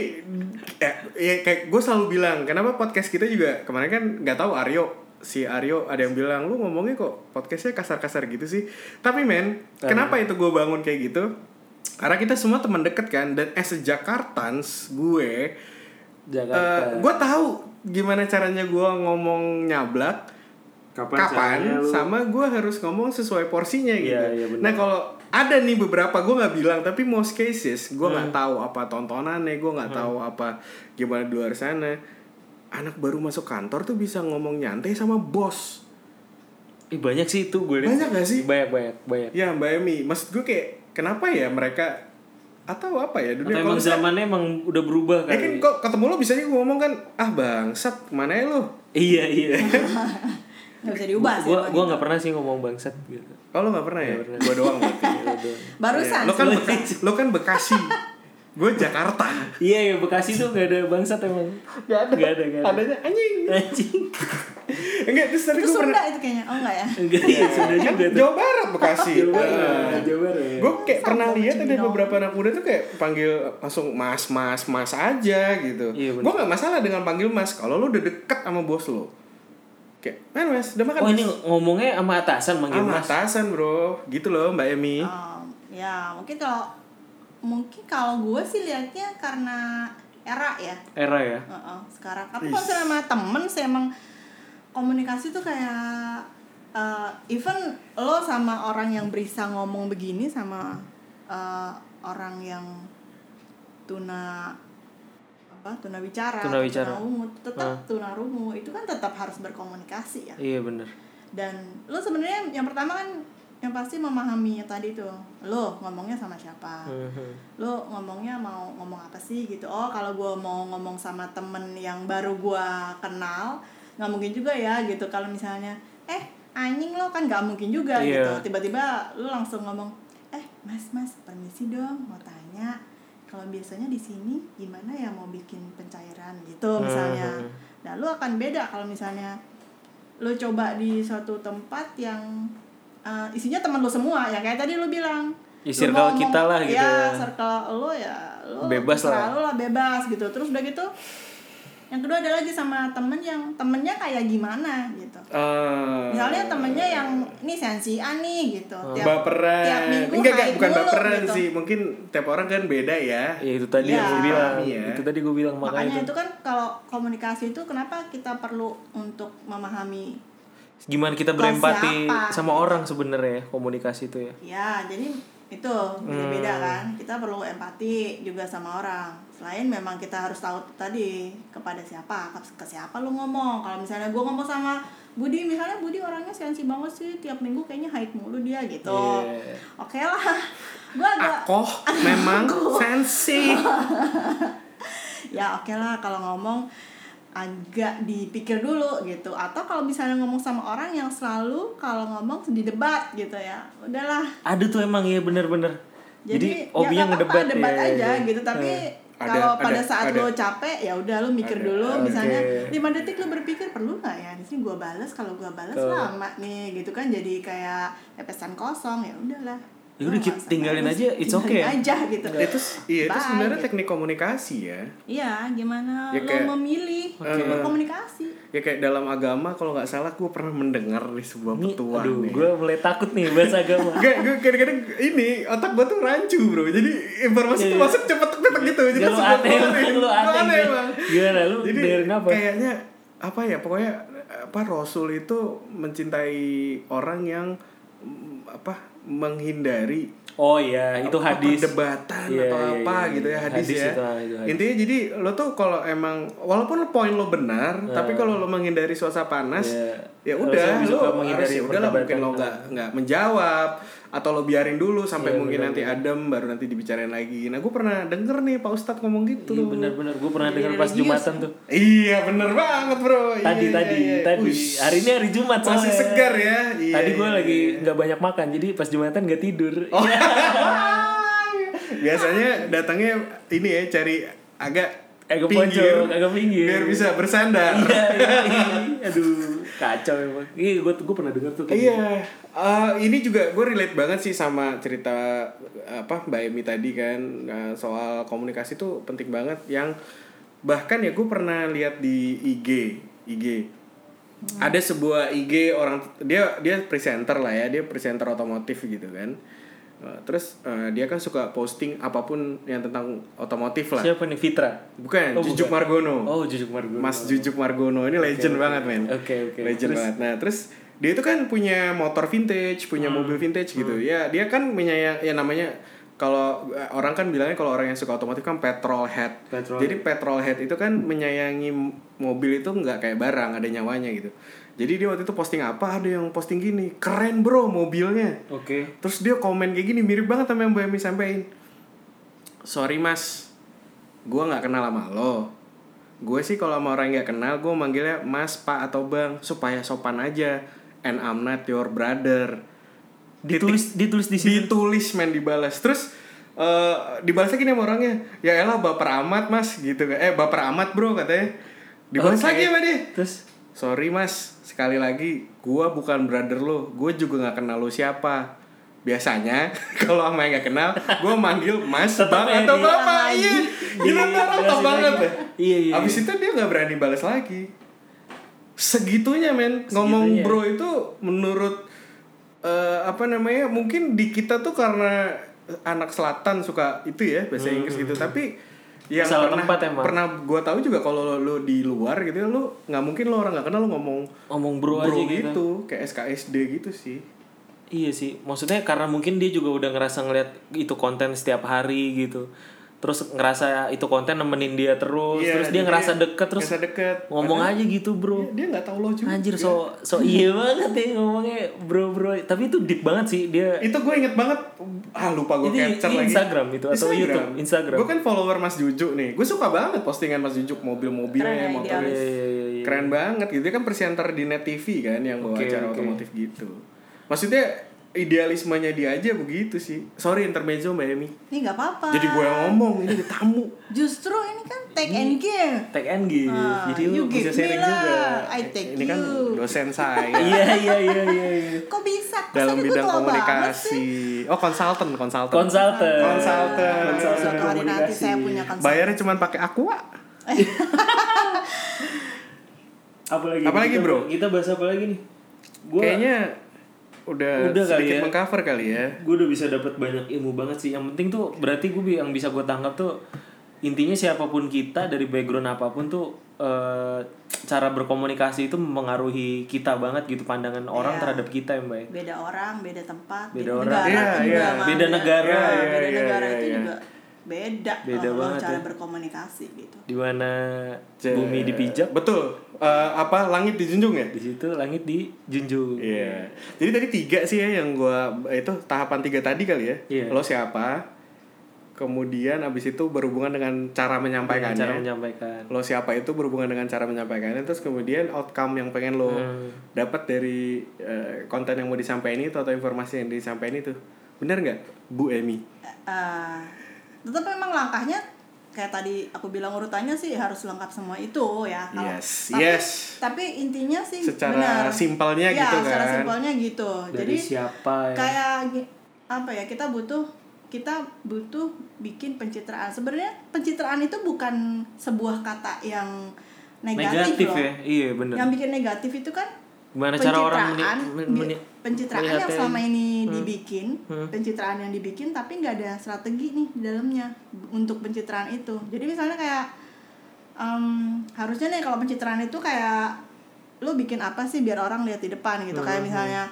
[SPEAKER 1] eh, ya, kayak gue selalu bilang kenapa podcast kita juga kemarin kan nggak tahu Aryo si Aryo ada yang bilang lu ngomongnya kok podcastnya kasar-kasar gitu sih tapi men kenapa itu gue bangun kayak gitu karena kita semua teman deket kan dan as a Jakartans gue
[SPEAKER 2] Jakarta
[SPEAKER 1] gue tahu gimana caranya gue ngomong nyablak
[SPEAKER 2] kapan,
[SPEAKER 1] kapan,
[SPEAKER 2] caranya lu-
[SPEAKER 1] sama gue harus ngomong sesuai porsinya gitu.
[SPEAKER 2] Iya, iya, benar.
[SPEAKER 1] nah kalau ada nih beberapa gue nggak bilang tapi most cases gue
[SPEAKER 2] Hmm.
[SPEAKER 1] nggak tahu apa tontonannya gue nggak tahu apa gimana di luar sana anak baru masuk kantor tuh bisa ngomong nyantai sama bos
[SPEAKER 2] Ih, banyak sih itu gue liat.
[SPEAKER 1] Banyak gak sih? Iya,
[SPEAKER 2] Banyak banyak banyak.
[SPEAKER 1] ya mbak Emi maksud gue kayak kenapa ya mereka atau apa ya
[SPEAKER 2] Atau
[SPEAKER 1] dunia
[SPEAKER 2] emang
[SPEAKER 1] misalnya-
[SPEAKER 2] zamannya emang udah berubah
[SPEAKER 1] Ya kan
[SPEAKER 2] kali?
[SPEAKER 1] kok ketemu lo bisanya gue ngomong kan ah bangsat kemana ya lo?
[SPEAKER 2] Iya iya.
[SPEAKER 3] nggak bisa diubah sih
[SPEAKER 2] gua
[SPEAKER 3] emang
[SPEAKER 2] gua
[SPEAKER 3] itu.
[SPEAKER 2] nggak pernah sih ngomong bangsat gitu.
[SPEAKER 1] Oh lo gak pernah ya?
[SPEAKER 2] Nggak pernah.
[SPEAKER 1] Gue doang berarti.
[SPEAKER 3] barusan
[SPEAKER 1] lo kan
[SPEAKER 3] sih.
[SPEAKER 1] Beka- lo kan Bekasi. gue Jakarta.
[SPEAKER 2] Iya ya Bekasi tuh gak ada bangsat emang.
[SPEAKER 1] Gak ada.
[SPEAKER 2] Gak ada gak ada.
[SPEAKER 1] Adanya anjing.
[SPEAKER 2] Anjing.
[SPEAKER 1] Enggak terus tadi
[SPEAKER 3] itu
[SPEAKER 1] gue
[SPEAKER 3] Sunda
[SPEAKER 1] pernah.
[SPEAKER 3] itu kayaknya oh enggak ya
[SPEAKER 2] Enggak iya sudah
[SPEAKER 1] Kan
[SPEAKER 2] juga tuh.
[SPEAKER 1] Jawa Barat Bekasi. Iya.
[SPEAKER 2] Jawa Barat.
[SPEAKER 1] Gue kayak
[SPEAKER 3] Sama
[SPEAKER 1] pernah
[SPEAKER 3] sama
[SPEAKER 1] lihat ada
[SPEAKER 3] Cibinong.
[SPEAKER 1] beberapa anak muda tuh kayak panggil langsung mas, mas, mas aja gitu.
[SPEAKER 2] Iya, bener.
[SPEAKER 1] gue gak masalah dengan panggil mas kalau lo udah deket sama bos lo. Kayak, man mas, udah makan
[SPEAKER 2] Oh
[SPEAKER 1] mas.
[SPEAKER 2] ini ngomongnya sama atasan manggil
[SPEAKER 1] kan- Sama
[SPEAKER 2] mas.
[SPEAKER 1] atasan bro, gitu loh Mbak Emi.
[SPEAKER 3] Um, ya mungkin kalau mungkin kalau gue sih lihatnya karena era ya
[SPEAKER 2] Era ya.
[SPEAKER 3] Heeh, sekarang tapi kalau misalnya sama temen sih emang komunikasi tuh kayak eh, even lo sama orang yang berisa ngomong begini sama eh, orang yang tuna apa tuna bicara
[SPEAKER 2] Tuna bicara.
[SPEAKER 3] tetap
[SPEAKER 2] Ah.
[SPEAKER 3] tuna rungu itu kan tetap harus berkomunikasi ya
[SPEAKER 2] Iya bener.
[SPEAKER 3] dan lo sebenarnya yang pertama kan yang pasti memahami tadi tuh lo ngomongnya sama siapa lo ngomongnya mau ngomong apa sih gitu oh kalau gue mau ngomong sama temen yang baru gue kenal nggak mungkin juga ya gitu kalau misalnya eh anjing lo kan nggak mungkin juga
[SPEAKER 2] Iya.
[SPEAKER 3] gitu tiba-tiba lo langsung ngomong eh mas mas permisi dong mau tanya kalau biasanya di sini gimana ya mau bikin pencairan gitu misalnya
[SPEAKER 2] Hmm.
[SPEAKER 3] nah lo akan beda kalau misalnya lo coba di suatu tempat yang eh, isinya teman lo semua yang kayak tadi lo bilang
[SPEAKER 2] Ya,
[SPEAKER 3] Lu
[SPEAKER 2] circle
[SPEAKER 3] mau ngomong-
[SPEAKER 2] kita lah gitu
[SPEAKER 3] ya,
[SPEAKER 2] ya.
[SPEAKER 3] circle lo ya lo
[SPEAKER 2] Bebas lah.
[SPEAKER 3] terserah lu lah bebas gitu terus udah gitu yang kedua ada lagi sama temen yang temennya kayak gimana gitu
[SPEAKER 1] Eh, Hmm.
[SPEAKER 3] misalnya temennya yang ini sensi nih gitu tiap,
[SPEAKER 1] baperan.
[SPEAKER 3] tiap minggu
[SPEAKER 1] enggak, enggak,
[SPEAKER 3] naik
[SPEAKER 1] bukan
[SPEAKER 3] mulu,
[SPEAKER 1] baperan
[SPEAKER 3] gitu.
[SPEAKER 1] sih. Mungkin tiap orang kan beda ya.
[SPEAKER 2] Ya itu tadi
[SPEAKER 3] Iya.
[SPEAKER 2] yang gue bilang.
[SPEAKER 1] Iya.
[SPEAKER 2] Itu tadi gue bilang
[SPEAKER 3] makanya
[SPEAKER 2] makanya,
[SPEAKER 3] itu kan kalau komunikasi itu kenapa kita perlu untuk memahami
[SPEAKER 2] itu. Gimana kita
[SPEAKER 3] Kelas
[SPEAKER 2] berempati
[SPEAKER 3] siapa?
[SPEAKER 2] sama orang sebenarnya ya, komunikasi itu ya.
[SPEAKER 3] ya jadi itu beda-beda kan kita perlu empati juga sama orang selain memang kita harus tahu tadi kepada siapa ke, ke siapa lu ngomong kalau misalnya gue ngomong sama Budi misalnya Budi orangnya sensi banget sih tiap minggu kayaknya haid mulu dia gitu
[SPEAKER 2] Iya.
[SPEAKER 3] oke lah gue agak
[SPEAKER 1] Aku memang sensi.
[SPEAKER 3] ya oke lah kalau ngomong agak dipikir dulu gitu atau kalau misalnya ngomong sama orang yang selalu kalau ngomong didebat gitu ya udahlah
[SPEAKER 2] Ada tuh emang ya bener-bener.
[SPEAKER 3] jadi,
[SPEAKER 2] Jadi, hobinya
[SPEAKER 3] ya nggak apa-apa,
[SPEAKER 2] ngedebat ya.
[SPEAKER 3] debat aja
[SPEAKER 2] iya.
[SPEAKER 3] gitu tapi
[SPEAKER 1] Ada-
[SPEAKER 3] kalau
[SPEAKER 1] ada-
[SPEAKER 3] pada saat
[SPEAKER 1] ada.
[SPEAKER 3] lo capek ya udah lo mikir
[SPEAKER 1] Ada,
[SPEAKER 3] dulu
[SPEAKER 1] oke.
[SPEAKER 3] misalnya lima detik lo berpikir perlu nggak ya di sini gue balas kalau gue balas lama nih gitu kan jadi kayak pesan kosong ya udahlah
[SPEAKER 2] Ya udah,
[SPEAKER 3] Lo
[SPEAKER 2] kita
[SPEAKER 3] nggak usah
[SPEAKER 2] tinggalin
[SPEAKER 3] balas,
[SPEAKER 2] aja, it's
[SPEAKER 3] tinggalin
[SPEAKER 2] okay.
[SPEAKER 3] aja gitu
[SPEAKER 1] itu iya itu
[SPEAKER 3] Bye,
[SPEAKER 1] sebenarnya
[SPEAKER 3] gitu.
[SPEAKER 1] teknik komunikasi ya.
[SPEAKER 3] iya gimana
[SPEAKER 1] Ya,
[SPEAKER 3] lo
[SPEAKER 1] kayak-
[SPEAKER 3] memilih
[SPEAKER 1] Oke.
[SPEAKER 3] berkomunikasi
[SPEAKER 1] Ya kayak dalam agama kalau nggak salah gue pernah mendengar di sebuah
[SPEAKER 2] Ini,
[SPEAKER 1] petualang.
[SPEAKER 2] aduh,
[SPEAKER 1] ya.
[SPEAKER 2] gue mulai takut nih bahas agama.
[SPEAKER 1] Gak, gue kadang-kadang ini otak gue tuh rancu bro Jadi informasi tuh
[SPEAKER 2] Iya.
[SPEAKER 1] masuk cepet cepet gitu Jadi
[SPEAKER 2] Gak lu
[SPEAKER 1] langsung
[SPEAKER 2] aneh,
[SPEAKER 1] keluarin.
[SPEAKER 2] emang, lu
[SPEAKER 1] Gua
[SPEAKER 2] aneh. ya.
[SPEAKER 1] aneh, emang.
[SPEAKER 2] Gimana, lu
[SPEAKER 1] Jadi
[SPEAKER 2] dengerin apa?
[SPEAKER 1] kayaknya apa ya pokoknya apa Rasul itu mencintai orang yang mm, apa menghindari
[SPEAKER 2] Oh iya, itu
[SPEAKER 1] apa,
[SPEAKER 2] hadis.
[SPEAKER 1] perdebatan
[SPEAKER 2] Iya,
[SPEAKER 1] atau
[SPEAKER 2] iya,
[SPEAKER 1] apa
[SPEAKER 2] iya.
[SPEAKER 1] gitu ya hadis,
[SPEAKER 2] Hadis
[SPEAKER 1] ya
[SPEAKER 2] itu, itu hadis.
[SPEAKER 1] intinya jadi lo tuh kalau emang walaupun poin lo benar tapi kalau lo menghindari suasana panas
[SPEAKER 2] Nah.
[SPEAKER 1] ya
[SPEAKER 2] Iya.
[SPEAKER 1] udah
[SPEAKER 2] Harusnya
[SPEAKER 1] lo
[SPEAKER 2] juga
[SPEAKER 1] harus
[SPEAKER 2] menghindari
[SPEAKER 1] ya udah lah mungkin lo
[SPEAKER 2] perdebatan.
[SPEAKER 1] nggak nggak menjawab atau lo biarin dulu sampai
[SPEAKER 2] Iya,
[SPEAKER 1] mungkin nanti adem baru nanti dibicarain lagi nah gue pernah denger nih pak ustadz ngomong gitu
[SPEAKER 2] Iya bener-bener, gue pernah
[SPEAKER 3] Jadi
[SPEAKER 2] denger pas
[SPEAKER 3] religius.
[SPEAKER 2] Jumatan tuh.
[SPEAKER 1] iya bener banget bro Iya,
[SPEAKER 2] Tadi,
[SPEAKER 1] iya,
[SPEAKER 2] tadi,
[SPEAKER 1] iya.
[SPEAKER 2] tadi.
[SPEAKER 1] Ush,
[SPEAKER 2] Hari ini hari Jumat
[SPEAKER 1] masih
[SPEAKER 2] soalnya.
[SPEAKER 1] segar ya Iya,
[SPEAKER 2] Tadi
[SPEAKER 1] iya,
[SPEAKER 2] gue
[SPEAKER 1] iya. Oh.
[SPEAKER 2] lagi nggak banyak makan, jadi pas Jumatan nggak tidur. Iya.
[SPEAKER 1] biasanya datangnya ini ya cari agak
[SPEAKER 2] Agak
[SPEAKER 1] pinggir,
[SPEAKER 2] pojok, agak pinggir.
[SPEAKER 1] biar bisa bersandar
[SPEAKER 2] Iya, iya, iya. Aduh, kacau emang. Iya, gue gue pernah denger tuh. kayak gitu.
[SPEAKER 1] Iya, Eh, ini juga gue relate banget sih sama cerita apa Mbak Emi tadi kan Nah, soal komunikasi tuh penting banget yang bahkan ya gue pernah lihat di IG IG
[SPEAKER 2] Hmm.
[SPEAKER 1] ada sebuah IG orang dia dia presenter lah ya dia presenter otomotif gitu kan Eh, terus eh, dia kan suka posting apapun yang tentang otomotif lah
[SPEAKER 2] gitu. Siapa nih Fitra?
[SPEAKER 1] bukan
[SPEAKER 2] Oh,
[SPEAKER 1] Jujuk
[SPEAKER 2] bukan.
[SPEAKER 1] Margono
[SPEAKER 2] Oh, Jujuk Margo.
[SPEAKER 1] Mas Jujuk Margono ini legend banget men.
[SPEAKER 2] Oke, oke.
[SPEAKER 1] Legend
[SPEAKER 2] Terus?
[SPEAKER 1] banget. Nah, terus dia itu kan punya motor vintage, punya
[SPEAKER 2] Hmm.
[SPEAKER 1] mobil vintage gitu. Ya, dia kan menyayang ya namanya kalau eh, orang kan bilangnya kalau orang yang suka otomotif kan petrol head.
[SPEAKER 2] Petrol.
[SPEAKER 1] Jadi petrol head itu kan menyayangi m- mobil itu nggak kayak barang, ada nyawanya gitu. Jadi dia waktu itu posting apa? Ada yang posting gini, keren bro mobilnya.
[SPEAKER 2] Oke.
[SPEAKER 1] Terus dia komen kayak gini mirip banget sama yang Mbak Emi sampein. sorry mas gue nggak kenal sama lo gue sih kalau sama orang yang nggak kenal gue manggilnya mas pak atau bang supaya sopan aja and I'm not your brother
[SPEAKER 2] Ditulis ditulis di sini.
[SPEAKER 1] ditulis men dibalas terus eh dibalas lagi nih sama orangnya ya elah baper amat mas gitu kan eh baper amat bro katanya dibalas
[SPEAKER 2] Oke.
[SPEAKER 1] lagi sama dia
[SPEAKER 2] Terus
[SPEAKER 1] sorry mas sekali lagi gua bukan brother lo gue juga nggak kenal lo siapa biasanya kalau sama yang nggak kenal gue manggil mas
[SPEAKER 2] Tetep
[SPEAKER 1] bang
[SPEAKER 2] ya,
[SPEAKER 1] atau
[SPEAKER 2] di-
[SPEAKER 1] bapak
[SPEAKER 3] lagi.
[SPEAKER 1] iya gila
[SPEAKER 2] Di-
[SPEAKER 1] tuh orang
[SPEAKER 2] jelasin
[SPEAKER 1] top banget
[SPEAKER 2] lagi.
[SPEAKER 1] ya
[SPEAKER 2] Iya, iya,
[SPEAKER 1] abis itu dia nggak berani balas lagi segitunya men ngomong
[SPEAKER 2] Segitunya.
[SPEAKER 1] bro itu menurut eh, apa namanya mungkin di kita tuh karena anak selatan suka itu ya bahasa Inggris gitu tapi yang
[SPEAKER 2] Hmm. Salah
[SPEAKER 1] pernah
[SPEAKER 2] tempat emang.
[SPEAKER 1] pernah gua tahu juga kalau lu di luar gitu lu nggak mungkin lu orang nggak kenal lu ngomong
[SPEAKER 2] ngomong
[SPEAKER 1] bro,
[SPEAKER 2] bro, aja
[SPEAKER 1] gitu.
[SPEAKER 2] gitu.
[SPEAKER 1] kayak SKSD gitu sih
[SPEAKER 2] Iya sih, maksudnya karena mungkin dia juga udah ngerasa ngeliat itu konten setiap hari gitu. Terus ngerasa itu konten nemenin dia terus,
[SPEAKER 1] Iya,
[SPEAKER 2] terus dia
[SPEAKER 1] jadi
[SPEAKER 2] ngerasa deket terus
[SPEAKER 1] ngerasa deket
[SPEAKER 2] ngomong aja gitu, Bro.
[SPEAKER 1] Padahal Iya. dia nggak tahu lo juga
[SPEAKER 2] Anjir so so iya banget ya ngomongnya bro bro tapi itu deep banget sih dia
[SPEAKER 1] itu gue inget banget ah lupa gue
[SPEAKER 2] Itu di-
[SPEAKER 1] capture
[SPEAKER 2] di
[SPEAKER 1] lagi
[SPEAKER 2] Instagram itu atau YouTube? Instagram.
[SPEAKER 1] gue kan follower Mas Jujuk nih gue suka banget postingan Mas Jujuk mobil-mobilnya
[SPEAKER 3] Keren,
[SPEAKER 1] motornya
[SPEAKER 2] Iya, iya, iya, iya.
[SPEAKER 1] keren banget gitu dia kan presenter di Net TV kan yang bawa
[SPEAKER 2] Oke,
[SPEAKER 1] acara
[SPEAKER 2] oke.
[SPEAKER 1] otomotif gitu maksudnya idealismenya dia aja begitu sih sorry intermezzo Mbak Emi
[SPEAKER 3] Ini nggak apa-apa.
[SPEAKER 1] jadi gue yang ngomong ini ada tamu
[SPEAKER 3] Justru ini kan take and give.
[SPEAKER 2] tag and give
[SPEAKER 3] Ah,
[SPEAKER 2] Iya, jadi
[SPEAKER 3] you
[SPEAKER 2] lu
[SPEAKER 3] give
[SPEAKER 2] bisa
[SPEAKER 3] me
[SPEAKER 2] sharing
[SPEAKER 3] lah.
[SPEAKER 2] juga
[SPEAKER 3] I take
[SPEAKER 1] ini kan
[SPEAKER 3] you.
[SPEAKER 1] dosen saya
[SPEAKER 2] iya iya iya iya iya.
[SPEAKER 3] Kok bisa? Kok
[SPEAKER 1] dalam
[SPEAKER 3] saya
[SPEAKER 1] bidang
[SPEAKER 3] ketua banget sih?
[SPEAKER 1] komunikasi oh konsultan konsultan
[SPEAKER 2] konsultan
[SPEAKER 1] Konsultan.
[SPEAKER 2] konsultan
[SPEAKER 3] Suatu hari nanti
[SPEAKER 2] komunikasi
[SPEAKER 3] saya punya konsultan.
[SPEAKER 1] bayarnya cuma pakai aqua
[SPEAKER 2] apalagi
[SPEAKER 1] Apalagi,
[SPEAKER 2] kita,
[SPEAKER 1] bro?
[SPEAKER 2] kita bahas apa lagi nih gua
[SPEAKER 1] kayaknya udah,
[SPEAKER 2] Udah kali
[SPEAKER 1] sedikit
[SPEAKER 2] ya.
[SPEAKER 1] mengcover kali ya
[SPEAKER 2] gue udah bisa dapat banyak ilmu banget sih yang penting tuh berarti gue yang bisa gue tangkap tuh intinya siapapun kita dari background apapun tuh eh, cara berkomunikasi itu mempengaruhi kita banget gitu pandangan orang
[SPEAKER 3] Iya.
[SPEAKER 2] terhadap kita ya mbak ya.
[SPEAKER 3] Beda orang, beda tempat,
[SPEAKER 2] Beda
[SPEAKER 3] beda,
[SPEAKER 2] orang.
[SPEAKER 3] negara
[SPEAKER 1] Iya,
[SPEAKER 3] juga,
[SPEAKER 1] iya.
[SPEAKER 3] Mam,
[SPEAKER 2] Beda
[SPEAKER 3] ya.
[SPEAKER 2] negara,
[SPEAKER 3] Nah,
[SPEAKER 1] iya,
[SPEAKER 3] beda
[SPEAKER 1] iya,
[SPEAKER 3] negara
[SPEAKER 1] iya,
[SPEAKER 3] itu
[SPEAKER 1] iya.
[SPEAKER 3] juga beda,
[SPEAKER 2] Beda
[SPEAKER 3] kalau
[SPEAKER 2] banget
[SPEAKER 3] cara
[SPEAKER 2] ya.
[SPEAKER 3] berkomunikasi gitu.
[SPEAKER 2] di mana
[SPEAKER 1] Je-
[SPEAKER 2] bumi dipijak
[SPEAKER 1] betul Eh, apa langit dijunjung ya
[SPEAKER 2] di situ langit dijunjung
[SPEAKER 1] Iya. Jadi tadi tiga sih ya yang gua itu tahapan tiga tadi kali ya.
[SPEAKER 2] Iya.
[SPEAKER 1] Lo siapa? Kemudian abis itu berhubungan dengan cara
[SPEAKER 2] Dengan
[SPEAKER 1] menyampaikannya.
[SPEAKER 2] cara
[SPEAKER 3] ya.
[SPEAKER 2] menyampaikan
[SPEAKER 1] Lo siapa itu berhubungan dengan cara menyampaikannya. Terus kemudian outcome yang pengen lo
[SPEAKER 2] Hmm.
[SPEAKER 1] dapat dari eh, konten yang mau disampaikan itu atau informasi yang disampaikan itu. Bener nggak, Bu Emi?
[SPEAKER 3] Eh, tetap memang langkahnya kayak tadi aku bilang urutannya sih harus lengkap semua itu ya. Kalau-
[SPEAKER 1] Yes,
[SPEAKER 3] Tapi,
[SPEAKER 1] yes.
[SPEAKER 3] Tapi intinya sih
[SPEAKER 1] Secara
[SPEAKER 3] benar.
[SPEAKER 1] simpelnya
[SPEAKER 3] Iya,
[SPEAKER 1] gitu
[SPEAKER 3] Secara
[SPEAKER 1] kan.
[SPEAKER 3] simpelnya gitu.
[SPEAKER 2] dari
[SPEAKER 3] Jadi
[SPEAKER 2] siapa ya
[SPEAKER 3] kayak gi- apa ya kita butuh kita butuh bikin pencitraan sebenarnya pencitraan itu bukan sebuah kata yang negatif,
[SPEAKER 2] negatif
[SPEAKER 3] loh
[SPEAKER 2] ya iya bener
[SPEAKER 3] yang bikin negatif itu kan
[SPEAKER 2] gimana cara orang meni-
[SPEAKER 3] pencitraan
[SPEAKER 2] men-
[SPEAKER 3] di-
[SPEAKER 2] meni- ya? Hmm.
[SPEAKER 3] pencitraan yang
[SPEAKER 2] melihatnya.
[SPEAKER 3] selama ini dibikin pencitraan yang dibikin tapi nggak ada strategi nih di dalamnya untuk pencitraan itu jadi misalnya kayak em, harusnya nih kalau pencitraan itu kayak lu bikin apa sih biar orang lihat di depan gitu
[SPEAKER 2] Hmm,
[SPEAKER 3] kayak misalnya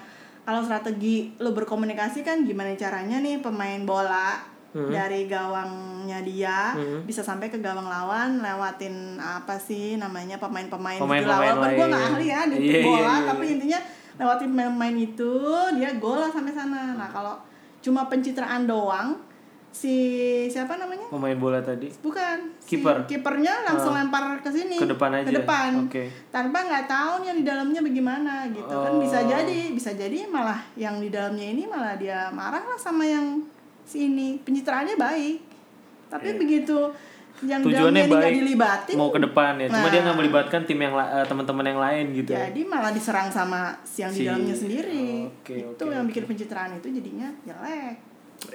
[SPEAKER 3] kalau strategi lu berkomunikasi kan gimana caranya nih pemain bola
[SPEAKER 2] Hmm.
[SPEAKER 3] dari gawangnya dia bisa sampai ke gawang lawan lewatin apa sih namanya pemain-pemain gitu lah
[SPEAKER 2] Pemain-pemain
[SPEAKER 3] walaupun gue nggak
[SPEAKER 2] lain.
[SPEAKER 3] ahli ya di
[SPEAKER 2] Iya,
[SPEAKER 3] bola
[SPEAKER 2] iya, iya.
[SPEAKER 3] tapi intinya lewatin pemain itu dia gol lah sampai sana nah kalau cuma pencitraan doang si siapa namanya
[SPEAKER 2] pemain bola tadi
[SPEAKER 3] bukan
[SPEAKER 2] Kiper. Ah,
[SPEAKER 3] si kipernya langsung lempar ke sini
[SPEAKER 2] Ke depan aja.
[SPEAKER 3] ke depan
[SPEAKER 2] Oke. Oh.
[SPEAKER 3] tanpa nggak tahu yang di dalamnya bagaimana gitu kan bisa jadi bisa jadi malah yang di dalamnya ini malah dia marah lah sama yang sini pencitraannya baik tapi begitu yang di
[SPEAKER 2] Iya. tujuannya
[SPEAKER 3] dalamnya ini nggak
[SPEAKER 2] baik
[SPEAKER 3] dilibatin
[SPEAKER 2] mau ke depan ya cuma
[SPEAKER 3] Nah.
[SPEAKER 2] dia nggak melibatkan tim yang la- eh, teman-teman yang lain gitu ya.
[SPEAKER 3] jadi malah diserang sama si yang
[SPEAKER 2] Si-
[SPEAKER 3] di dalamnya sendiri
[SPEAKER 2] Oke,
[SPEAKER 3] itu
[SPEAKER 2] oke,
[SPEAKER 3] yang bikin pencitraan itu jadinya jelek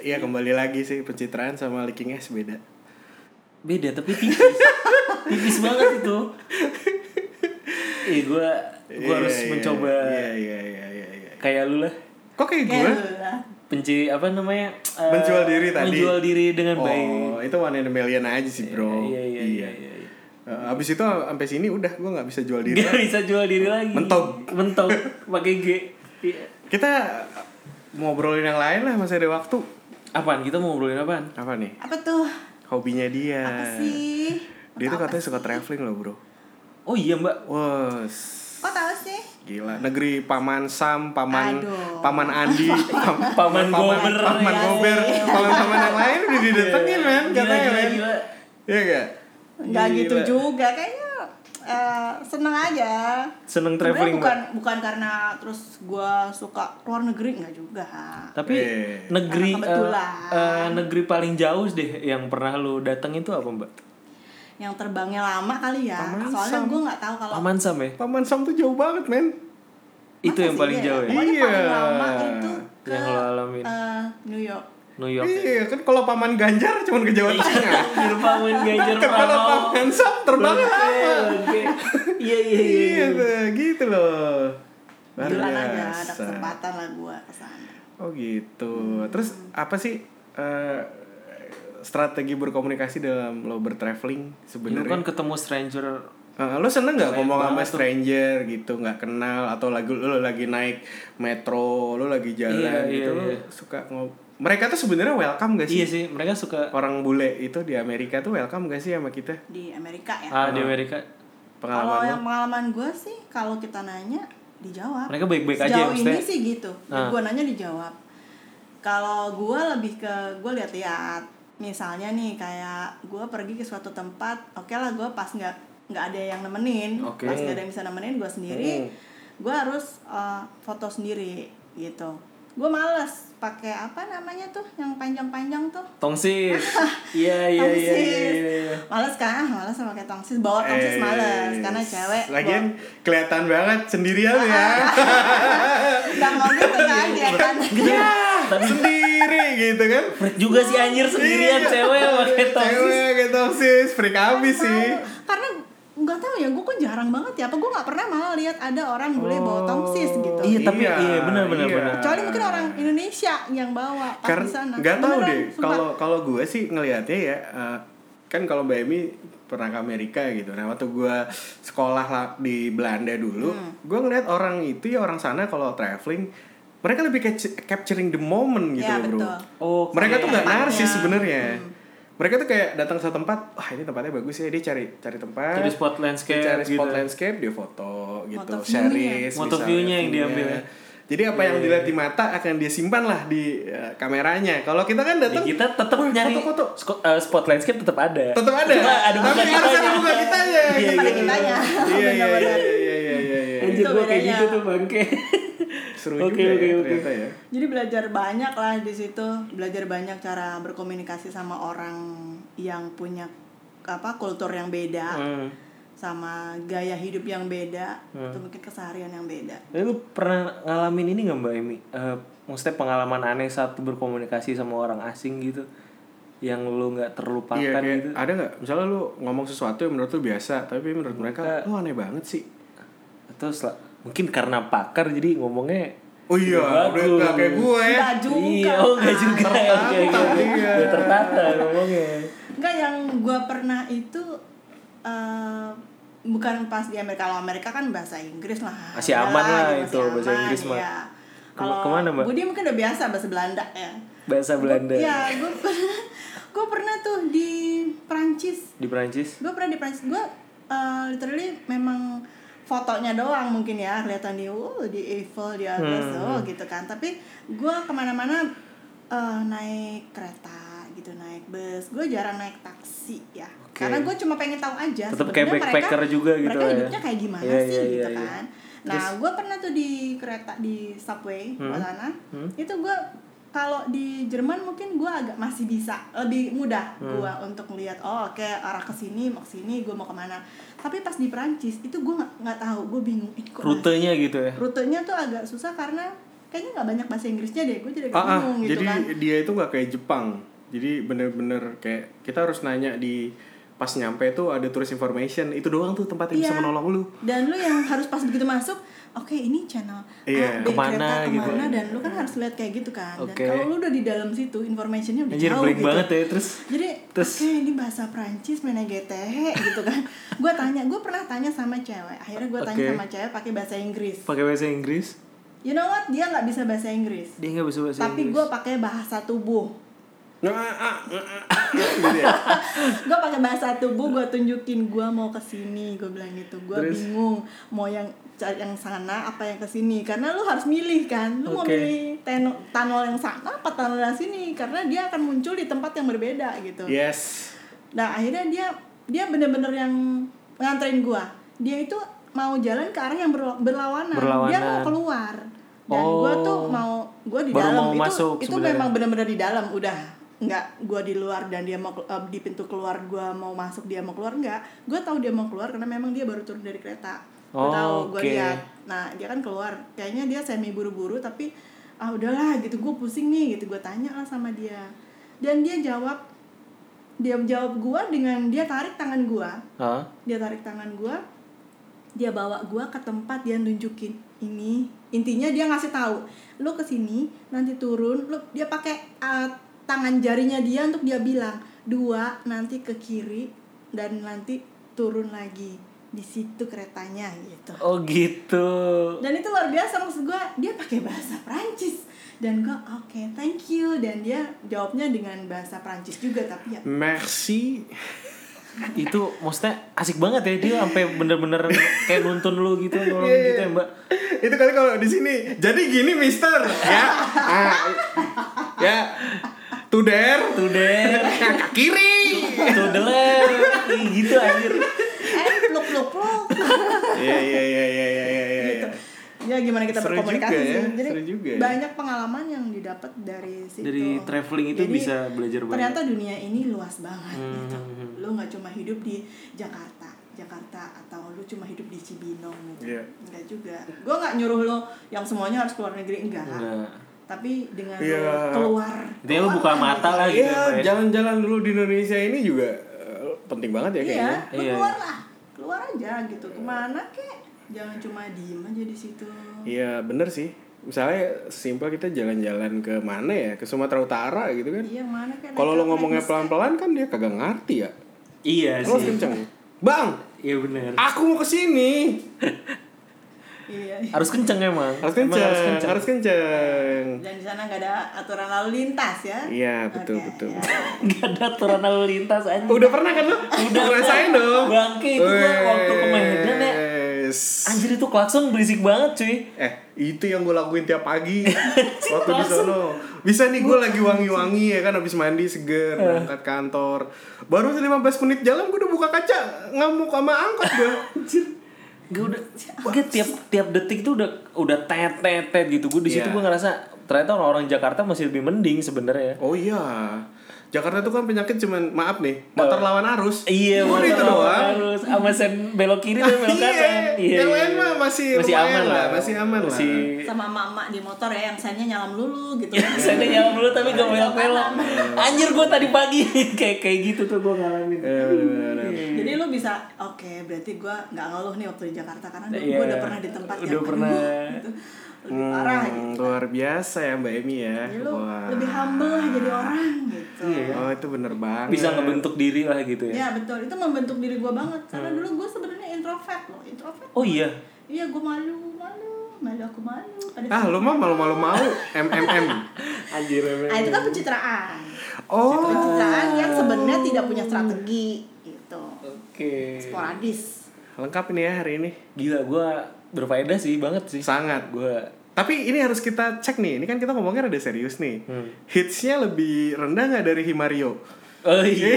[SPEAKER 1] Iya kembali lagi sih pencitraan sama licking es beda.
[SPEAKER 2] beda tapi tipis tipis banget itu Ih gue gue harus
[SPEAKER 1] Iya, iya,
[SPEAKER 2] mencoba
[SPEAKER 1] Iya iya iya iya. iya.
[SPEAKER 2] kayak lu lah
[SPEAKER 1] Kok kayak
[SPEAKER 3] Kayak
[SPEAKER 1] gue?
[SPEAKER 3] lu lah.
[SPEAKER 2] penci apa namanya eh,
[SPEAKER 1] Menjual diri tadi.
[SPEAKER 2] menjual diri dengan baik
[SPEAKER 1] Oh, itu one in a million aja sih, Bro.
[SPEAKER 2] iya iya iya, iya, iya.
[SPEAKER 1] Eh, abis itu sampai sini udah gue nggak bisa jual diri.
[SPEAKER 2] Gak bisa jual diri lagi
[SPEAKER 1] Mentok.
[SPEAKER 2] mentok pakai G Iya.
[SPEAKER 1] Kita ngobrolin yang lain lah masih ada waktu.
[SPEAKER 2] apaan kita mau ngobrolin apaan
[SPEAKER 1] Apa nih?
[SPEAKER 3] apa tuh
[SPEAKER 1] Hobinya
[SPEAKER 2] Eh,
[SPEAKER 1] dia.
[SPEAKER 3] apa sih
[SPEAKER 1] Dia tuh
[SPEAKER 3] Apa
[SPEAKER 1] katanya suka traveling loh, Bro.
[SPEAKER 2] oh iya mbak
[SPEAKER 1] Wes.
[SPEAKER 3] Kok tahu sih?
[SPEAKER 1] Gila, negeri Paman Sam, Paman
[SPEAKER 3] Aduh. Iya
[SPEAKER 1] Paman Andi, Pam-
[SPEAKER 2] Paman Gober,
[SPEAKER 1] Paman
[SPEAKER 2] ya.
[SPEAKER 1] Gober, paman-paman yang lain udah didatengin men,
[SPEAKER 2] Iya, Gila,
[SPEAKER 1] katanya
[SPEAKER 2] gila,
[SPEAKER 1] men.
[SPEAKER 2] gila.
[SPEAKER 1] Iya enggak?
[SPEAKER 3] nggak gitu juga kayaknya eh, seneng aja
[SPEAKER 2] Seneng
[SPEAKER 3] Sebenarnya
[SPEAKER 2] traveling,
[SPEAKER 3] bukan bukan karena terus gua suka luar negeri nggak juga
[SPEAKER 2] Tapi
[SPEAKER 1] Eh.
[SPEAKER 2] negeri eh,
[SPEAKER 3] Karena kebetulan.
[SPEAKER 2] eh, negeri paling jauh deh yang pernah lu datang itu apa, Mbak?
[SPEAKER 3] yang terbangnya lama kali ya
[SPEAKER 1] Paman
[SPEAKER 3] soalnya
[SPEAKER 1] Sam.
[SPEAKER 3] gua nggak tahu kalau
[SPEAKER 2] Paman Sam ya?
[SPEAKER 1] Paman Sam tuh jauh banget men.
[SPEAKER 2] Itu
[SPEAKER 3] Masa
[SPEAKER 2] yang
[SPEAKER 3] sih
[SPEAKER 2] paling
[SPEAKER 3] dia?
[SPEAKER 2] jauh ya.
[SPEAKER 3] Pokoknya paling
[SPEAKER 1] Iya.
[SPEAKER 3] lama itu ke
[SPEAKER 2] Yang lo alamin.
[SPEAKER 3] eh, New York
[SPEAKER 2] New York. ya?
[SPEAKER 1] Iya, kan kalau Paman Ganjar cuman ke Jawa Tengah.
[SPEAKER 2] Di Paman Ganjar
[SPEAKER 1] Kan kalau
[SPEAKER 2] Pranowo.
[SPEAKER 1] Paman Sam terbang
[SPEAKER 2] Oh, Oke,
[SPEAKER 1] lama.
[SPEAKER 2] oke. Iya, iya, iya.
[SPEAKER 1] Iya, tuh, gitu loh. Luar
[SPEAKER 3] Gila aja ada
[SPEAKER 1] biasa.
[SPEAKER 3] kesempatan lah gua kesana
[SPEAKER 1] Oh gitu. Terus apa sih eh, strategi berkomunikasi dalam lo bertraveling
[SPEAKER 2] Lu kan
[SPEAKER 1] sebenarnya?
[SPEAKER 2] ketemu stranger
[SPEAKER 1] Eh, lo seneng nggak
[SPEAKER 2] Keren
[SPEAKER 1] ngomong sama
[SPEAKER 2] banget tuh.
[SPEAKER 1] stranger gitu nggak kenal atau lagi lo lagi naik metro lo lagi jalan
[SPEAKER 2] Iya,
[SPEAKER 1] gitu
[SPEAKER 2] iya,
[SPEAKER 1] lo
[SPEAKER 2] iya.
[SPEAKER 1] suka ngob mereka tuh sebenarnya welcome gak sih
[SPEAKER 2] Iya sih, mereka suka
[SPEAKER 1] orang bule itu di Amerika tuh welcome gak sih sama kita
[SPEAKER 3] di Amerika ya
[SPEAKER 2] ah, di Amerika.
[SPEAKER 3] kalau
[SPEAKER 1] pengalaman lo?
[SPEAKER 3] yang pengalaman gua sih kalau kita nanya dijawab
[SPEAKER 2] Mereka baik-baik aja ya,
[SPEAKER 3] Sejauh
[SPEAKER 2] maksudnya.
[SPEAKER 3] ini sih gitu.
[SPEAKER 2] Ah.
[SPEAKER 3] Gue nanya dijawab. Kalau gue lebih ke gue lihat-lihat. Misalnya nih kayak gue pergi ke suatu tempat, oke lah gue pas nggak nggak ada yang nemenin,
[SPEAKER 2] Oke.
[SPEAKER 3] pas nggak ada yang bisa nemenin gue sendiri,
[SPEAKER 1] Hmm.
[SPEAKER 3] gue harus eh, foto sendiri gitu. Gue males pakai apa namanya tuh yang panjang-panjang tuh.
[SPEAKER 2] Tongsis. Iya, iya, iya,
[SPEAKER 3] Tongsis.
[SPEAKER 2] iya, iya, iya.
[SPEAKER 3] Males kan? Ah, Males pakai tongsis. Bawa tongsis
[SPEAKER 1] Eh,
[SPEAKER 3] males karena cewek. Ah,
[SPEAKER 1] Lagian kelihatan banget sendirian ya.
[SPEAKER 3] Gak mau gitu kan dia kan.
[SPEAKER 2] Iya.
[SPEAKER 1] Ya, sendiri gitu kan.
[SPEAKER 2] Freak juga sih anjir sendirian cewek pakai
[SPEAKER 1] Iya.
[SPEAKER 2] tongsis.
[SPEAKER 1] Cewek kayak toksis, freak abis sih.
[SPEAKER 3] Tahu. karena nggak tahu ya gue kok jarang banget ya apa gue nggak pernah malah lihat ada orang bule bawa tongsis gitu
[SPEAKER 2] Iya, tapi
[SPEAKER 1] Oh, Iya,
[SPEAKER 2] iya benar benar
[SPEAKER 1] iya.
[SPEAKER 2] benar.
[SPEAKER 3] kecuali mungkin orang Indonesia yang bawa pas di
[SPEAKER 1] Karena
[SPEAKER 3] sana
[SPEAKER 1] nggak tahu
[SPEAKER 3] Beneran,
[SPEAKER 1] deh.
[SPEAKER 3] sumpah.
[SPEAKER 1] Kalau kalau gue sih ngelihatnya ya eh, kan kalau Mbak Emi pernah ke Amerika gitu. Nah waktu gue sekolah la- di Belanda dulu,
[SPEAKER 3] Hmm.
[SPEAKER 1] gue ngeliat orang itu ya orang sana kalau traveling mereka lebih catch- capturing the moment gitu
[SPEAKER 3] Iya,
[SPEAKER 1] loh bro.
[SPEAKER 3] betul.
[SPEAKER 2] Oh,
[SPEAKER 1] mereka tuh nggak
[SPEAKER 3] Tempatnya. Hmm.
[SPEAKER 1] narsis sebenarnya. Mereka tuh kayak datang ke satu tempat, wah ini tempatnya bagus ya, dia cari cari tempat.
[SPEAKER 2] Cari spot landscape
[SPEAKER 1] cari spot
[SPEAKER 2] gitu.
[SPEAKER 1] landscape, dia foto gitu,
[SPEAKER 3] Foto view-nya. ya?
[SPEAKER 1] series,
[SPEAKER 2] Foto
[SPEAKER 1] misalnya,
[SPEAKER 2] view-nya yang
[SPEAKER 1] view-nya.
[SPEAKER 2] diambil ya. iya.
[SPEAKER 1] Jadi apa yang dilihat di mata akan dia simpan lah di eh, kameranya. Kalau kita kan
[SPEAKER 2] Ya,
[SPEAKER 1] datang
[SPEAKER 2] kita tetap
[SPEAKER 1] "Wah,
[SPEAKER 2] nyari
[SPEAKER 1] foto-foto.
[SPEAKER 2] sko- eh, spot landscape tetap ada.
[SPEAKER 1] Tetap ada.
[SPEAKER 2] Cuma ada
[SPEAKER 1] Tapi
[SPEAKER 2] muka
[SPEAKER 1] harus ada
[SPEAKER 2] kitanya.
[SPEAKER 1] muka kitanya.
[SPEAKER 2] Iya,
[SPEAKER 1] gitu.
[SPEAKER 3] pada
[SPEAKER 1] Iya,
[SPEAKER 3] kitanya.
[SPEAKER 1] iya, iya, iya, iya, iya, iya.
[SPEAKER 2] Anjir
[SPEAKER 3] Itu
[SPEAKER 2] gua kayak
[SPEAKER 3] bedanya.
[SPEAKER 2] gitu tuh bangke.
[SPEAKER 1] Seru
[SPEAKER 2] Oke,
[SPEAKER 1] juga
[SPEAKER 2] oke,
[SPEAKER 1] ya
[SPEAKER 2] oke.
[SPEAKER 1] ternyata ya.
[SPEAKER 3] jadi belajar banyak lah di situ belajar banyak cara berkomunikasi sama orang yang punya apa kultur yang
[SPEAKER 1] Oh,
[SPEAKER 3] beda
[SPEAKER 2] Hmm.
[SPEAKER 3] sama gaya hidup yang beda atau mungkin keseharian yang beda
[SPEAKER 2] Tapi lu pernah ngalamin ini gak Mbak Emi? Eh, maksudnya pengalaman aneh saat lu berkomunikasi sama orang asing gitu Yang lu gak terlupakan
[SPEAKER 1] Iya, kayak
[SPEAKER 2] gitu
[SPEAKER 1] ada nggak? Misalnya lu ngomong sesuatu yang menurut lu biasa, tapi menurut mereka lu aneh banget sih.
[SPEAKER 2] Atau sel- mungkin karena pakar jadi ngomongnya
[SPEAKER 1] Oh iya, udah
[SPEAKER 2] Bagus.
[SPEAKER 1] nggak kayak gue ya.
[SPEAKER 3] nggak juga Ah.
[SPEAKER 2] Iya, oh gak juga Oke, oke, oke.
[SPEAKER 1] Iya.
[SPEAKER 2] Udah tertata ngomongnya
[SPEAKER 3] Enggak yang gue pernah itu eh, bukan pas di Amerika kalau Amerika kan bahasa Inggris lah
[SPEAKER 2] Masih
[SPEAKER 3] Udah
[SPEAKER 2] aman lah itu,
[SPEAKER 3] gitu,
[SPEAKER 2] bahasa Inggris mah.
[SPEAKER 3] iya.
[SPEAKER 2] Kema-
[SPEAKER 3] kalau
[SPEAKER 2] kemana, Mbak?
[SPEAKER 3] Budi mungkin udah biasa bahasa Belanda ya
[SPEAKER 2] Bahasa Belanda
[SPEAKER 3] Iya gue pernah gue pernah tuh di Perancis
[SPEAKER 2] Di Perancis
[SPEAKER 3] gue pernah di Perancis gue eh, literally memang fotonya doang mungkin ya kelihatan di oh di Eiffel di atas
[SPEAKER 2] Hmm,
[SPEAKER 3] oh gitu kan tapi gue kemana-mana eh, naik kereta gitu naik bus gue jarang naik taksi ya
[SPEAKER 2] Oke.
[SPEAKER 3] karena gue cuma pengen tahu aja
[SPEAKER 2] Tetep
[SPEAKER 3] sebenarnya
[SPEAKER 2] kayak
[SPEAKER 3] mereka-
[SPEAKER 2] backpacker juga gitu
[SPEAKER 3] mereka
[SPEAKER 2] lah ya.
[SPEAKER 3] hidupnya kayak gimana
[SPEAKER 2] Iya,
[SPEAKER 3] sih
[SPEAKER 2] iya,
[SPEAKER 3] gitu
[SPEAKER 2] iya, iya.
[SPEAKER 3] kan nah gue pernah tuh di kereta di subway
[SPEAKER 1] Hmm?
[SPEAKER 3] ke sana itu gue kalau di Jerman mungkin gue agak masih bisa lebih mudah
[SPEAKER 1] Hmm.
[SPEAKER 3] gue untuk melihat oh oke arah ke sini mau ke sini gue mau kemana tapi pas di Perancis itu gue nggak nggak tahu gue bingung eh, kok mana?
[SPEAKER 2] Rutenya gitu ya
[SPEAKER 3] rutenya tuh agak susah karena kayaknya nggak banyak bahasa Inggrisnya deh gue jadi agak
[SPEAKER 1] Ah, ah,
[SPEAKER 3] bingung gitu
[SPEAKER 1] jadi
[SPEAKER 3] kan
[SPEAKER 1] dia itu nggak kayak Jepang. Jadi bener-bener kayak kita harus nanya di pas nyampe itu ada tourist information itu doang tuh tempat yang bisa
[SPEAKER 3] Iya.
[SPEAKER 1] menolong lu.
[SPEAKER 3] dan lu yang harus pas begitu masuk oke ini channel A,
[SPEAKER 1] Iya.
[SPEAKER 3] B,
[SPEAKER 2] Kemana
[SPEAKER 3] kereta
[SPEAKER 2] gitu.
[SPEAKER 3] kemana dan lu kan harus lihat kayak gitu kan
[SPEAKER 2] Oke.
[SPEAKER 3] dan kalau lu udah di dalam situ informationnya udah
[SPEAKER 2] Anjir
[SPEAKER 3] jauh
[SPEAKER 2] blank
[SPEAKER 3] gitu
[SPEAKER 2] banget ya Terus
[SPEAKER 3] jadi
[SPEAKER 2] Terus-
[SPEAKER 3] oke ini bahasa Prancis mana GTH gitu kan gue tanya gue pernah tanya sama cewek akhirnya gue tanya
[SPEAKER 2] Oke.
[SPEAKER 3] sama cewek pakai bahasa Inggris
[SPEAKER 2] pakai bahasa Inggris
[SPEAKER 3] you know what dia nggak bisa bahasa Inggris
[SPEAKER 2] Dia gak bisa bahasa
[SPEAKER 3] tapi
[SPEAKER 2] Inggris
[SPEAKER 3] gue pakai bahasa tubuh
[SPEAKER 1] Nah, ah, gitu ya.
[SPEAKER 3] gue pakai bahasa tubuh gue tunjukin gue mau kesini gue bilang gitu gue
[SPEAKER 1] Terus?
[SPEAKER 3] bingung mau yang ca- yang sana apa yang kesini karena lu harus milih kan lu mau
[SPEAKER 2] Oke.
[SPEAKER 3] milih teno- tanol yang sana apa tanol yang sini karena dia akan muncul di tempat yang berbeda gitu
[SPEAKER 2] Iya.
[SPEAKER 1] Yes.
[SPEAKER 3] nah akhirnya dia dia bener-bener yang nganterin gue dia itu mau jalan ke arah yang berla- berlawanan. dia
[SPEAKER 2] Berlawanan.
[SPEAKER 3] mau keluar dan gue tuh
[SPEAKER 2] Oh.
[SPEAKER 3] mau gue di
[SPEAKER 2] Baru
[SPEAKER 3] dalam
[SPEAKER 2] mau
[SPEAKER 3] itu
[SPEAKER 2] masuk
[SPEAKER 3] itu
[SPEAKER 2] sebenarnya.
[SPEAKER 3] memang benar-benar di dalam udah nggak gue di luar dan dia mau eh, di pintu keluar gue mau masuk dia mau keluar nggak gue tahu dia mau keluar karena memang dia baru turun dari kereta gue
[SPEAKER 2] Oh,
[SPEAKER 3] tahu gue
[SPEAKER 2] oke.
[SPEAKER 3] lihat nah dia kan keluar kayaknya dia semi buru-buru tapi ah udahlah gitu gue pusing nih gitu gue tanya lah sama dia dan dia jawab dia jawab gue dengan dia tarik tangan gue
[SPEAKER 2] Hah?
[SPEAKER 3] dia tarik tangan gua dia bawa gua ke tempat dia nunjukin ini intinya dia ngasih tahu lu kesini nanti turun lu dia pakai uh, tangan jarinya dia untuk dia bilang dua nanti ke kiri dan nanti turun lagi di situ keretanya gitu
[SPEAKER 2] Oh gitu.
[SPEAKER 3] dan itu luar biasa maksud gue dia pakai bahasa Prancis dan gua oke thank you dan dia jawabnya dengan bahasa Prancis juga tapi ya
[SPEAKER 1] Merci.
[SPEAKER 2] Itu maksudnya asik banget ya dia sampai bener-bener kayak nuntun lu
[SPEAKER 1] Iya,
[SPEAKER 2] gitu nolong gitu ya, Mbak.
[SPEAKER 1] Itu kali kalau di sini. Jadi gini, Mister, ya. Ah, ya. Tuder,
[SPEAKER 2] Tuder,
[SPEAKER 1] ke kiri.
[SPEAKER 2] tudeler, Ih, gitu anjir.
[SPEAKER 3] eh pluk pluk pluk
[SPEAKER 1] Iya, iya, iya, iya, iya, iya, iya,
[SPEAKER 3] gitu.
[SPEAKER 1] iya.
[SPEAKER 3] Ya gimana kita
[SPEAKER 1] Seru
[SPEAKER 3] berkomunikasi
[SPEAKER 1] juga ya,
[SPEAKER 3] sih. Jadi
[SPEAKER 1] seru juga ya.
[SPEAKER 3] banyak pengalaman yang didapat dari situ.
[SPEAKER 2] Dari traveling itu
[SPEAKER 3] Jadi,
[SPEAKER 2] bisa belajar banyak.
[SPEAKER 3] Ternyata dunia ini luas banget gitu.
[SPEAKER 2] Hmm.
[SPEAKER 3] Lu nggak cuma hidup di Jakarta, Jakarta atau lu cuma hidup di Cibinong gitu.
[SPEAKER 1] Iya.
[SPEAKER 3] Enggak juga. Gua nggak nyuruh lo yang semuanya harus keluar negeri enggak.
[SPEAKER 2] Enggak.
[SPEAKER 3] Tapi dengan lu
[SPEAKER 1] Iya.
[SPEAKER 3] keluar.
[SPEAKER 2] Dia lu buka mata lah gitu. ya, Mbak,
[SPEAKER 1] Iya,
[SPEAKER 2] ya.
[SPEAKER 1] jalan-jalan dulu di Indonesia ini juga eh, penting banget ya
[SPEAKER 3] Iya,
[SPEAKER 1] kayaknya.
[SPEAKER 3] lu
[SPEAKER 2] Iya,
[SPEAKER 3] keluar lah. Keluar aja gitu. Kemana kek? Jangan cuma diem aja di situ.
[SPEAKER 1] Iya, bener sih. Misalnya simpel kita jalan-jalan ke mana ya? Ke Sumatera Utara gitu kan.
[SPEAKER 3] Iya, mana kek?
[SPEAKER 1] Kalau lo
[SPEAKER 3] naik- naik
[SPEAKER 1] ngomongnya
[SPEAKER 3] bus kek.
[SPEAKER 1] pelan-pelan kan dia kagak ngerti ya.
[SPEAKER 2] Iya
[SPEAKER 1] Lo harus
[SPEAKER 2] sih.
[SPEAKER 1] kenceng. Bang,
[SPEAKER 2] Iya bener.
[SPEAKER 1] aku mau ke sini.
[SPEAKER 3] Iya.
[SPEAKER 2] Harus kenceng emang.
[SPEAKER 1] Harus
[SPEAKER 2] Emang
[SPEAKER 1] kenceng, harus kenceng.
[SPEAKER 3] Dan di sana nggak ada aturan lalu lintas ya?
[SPEAKER 1] Iya, betul, betul, betul.
[SPEAKER 2] Gak ada aturan lalu lintas anjing.
[SPEAKER 1] Udah pernah kan lo?
[SPEAKER 2] Udah.
[SPEAKER 1] ngerasain dong.
[SPEAKER 2] Bangke, itu gua waktu ke Medan ya.
[SPEAKER 1] Wes.
[SPEAKER 2] Anjir itu klakson berisik banget cuy.
[SPEAKER 1] Eh, itu yang gue lakuin tiap pagi waktu di
[SPEAKER 2] langsung.
[SPEAKER 1] Solo. Bisa nih gue lagi wangi-wangi ya kan habis mandi seger berangkat kantor. Baru 15 menit jalan gue udah buka kaca ngamuk sama angkot gue.
[SPEAKER 2] Gue udah gue tiap tiap detik tuh udah udah tet tet tet gitu. Gue di situ
[SPEAKER 1] Iya.
[SPEAKER 2] gue ngerasa ternyata orang-orang Jakarta masih lebih mending sebenarnya.
[SPEAKER 1] Oh iya. Jakarta tuh kan penyakit cuman maaf nih, motor lawan arus.
[SPEAKER 2] Iya,
[SPEAKER 1] Udah itu
[SPEAKER 2] motor
[SPEAKER 1] doang.
[SPEAKER 2] harus sama sen belok kiri dan belok
[SPEAKER 1] Iya,
[SPEAKER 2] kanan.
[SPEAKER 1] yang lain mah masih lumayan lah, masih aman lah.
[SPEAKER 3] iya. Sama mama di motor ya yang sennya nyalam lulu gitu.
[SPEAKER 2] Saya nyala dulu tapi gak belok-belok. Anjir gue tadi pagi kayak kayak gitu tuh gue ngalamin.
[SPEAKER 1] Eh, bener-bener.
[SPEAKER 2] Iya.
[SPEAKER 3] Jadi lu bisa, oke berarti gue nggak ngeluh nih waktu di Jakarta karena gua
[SPEAKER 2] Iya.
[SPEAKER 3] gua udah pernah di tempat yang
[SPEAKER 2] Udah pernah.
[SPEAKER 3] aduh, gitu. lebih parah gitu.
[SPEAKER 1] Hmm, luar biasa ya Mbak Emi ya.
[SPEAKER 3] Jadi lu
[SPEAKER 1] Wah.
[SPEAKER 3] lebih humble lah jadi orang gitu.
[SPEAKER 1] Oh itu bener banget.
[SPEAKER 2] Bisa ngebentuk diri lah gitu
[SPEAKER 1] Iya.
[SPEAKER 2] ya.
[SPEAKER 3] Ya betul, itu membentuk diri gue banget karena
[SPEAKER 1] Hmm.
[SPEAKER 3] dulu gue sebenarnya introvert loh, introvert.
[SPEAKER 2] Oh iya.
[SPEAKER 3] Iya gue malu, malu, malu aku malu. Ada
[SPEAKER 1] Ah lu mah malu-malu mau MMM.
[SPEAKER 2] Anjir.
[SPEAKER 3] Ah, itu kan pencitraan.
[SPEAKER 1] Oh.
[SPEAKER 3] Pencitraan Gitu. yang sebenarnya tidak punya strategi gitu.
[SPEAKER 2] Oke.
[SPEAKER 3] Sporadis.
[SPEAKER 1] Lengkap ini ya hari ini.
[SPEAKER 2] Gila gue berfaedah sih banget sih.
[SPEAKER 1] Sangat.
[SPEAKER 2] Gue
[SPEAKER 1] Tapi ini harus kita cek nih. Ini kan kita ngomongnya rada serius nih.
[SPEAKER 2] Hmm.
[SPEAKER 1] Hitsnya lebih rendah nggak dari Himario?
[SPEAKER 2] Oh iya.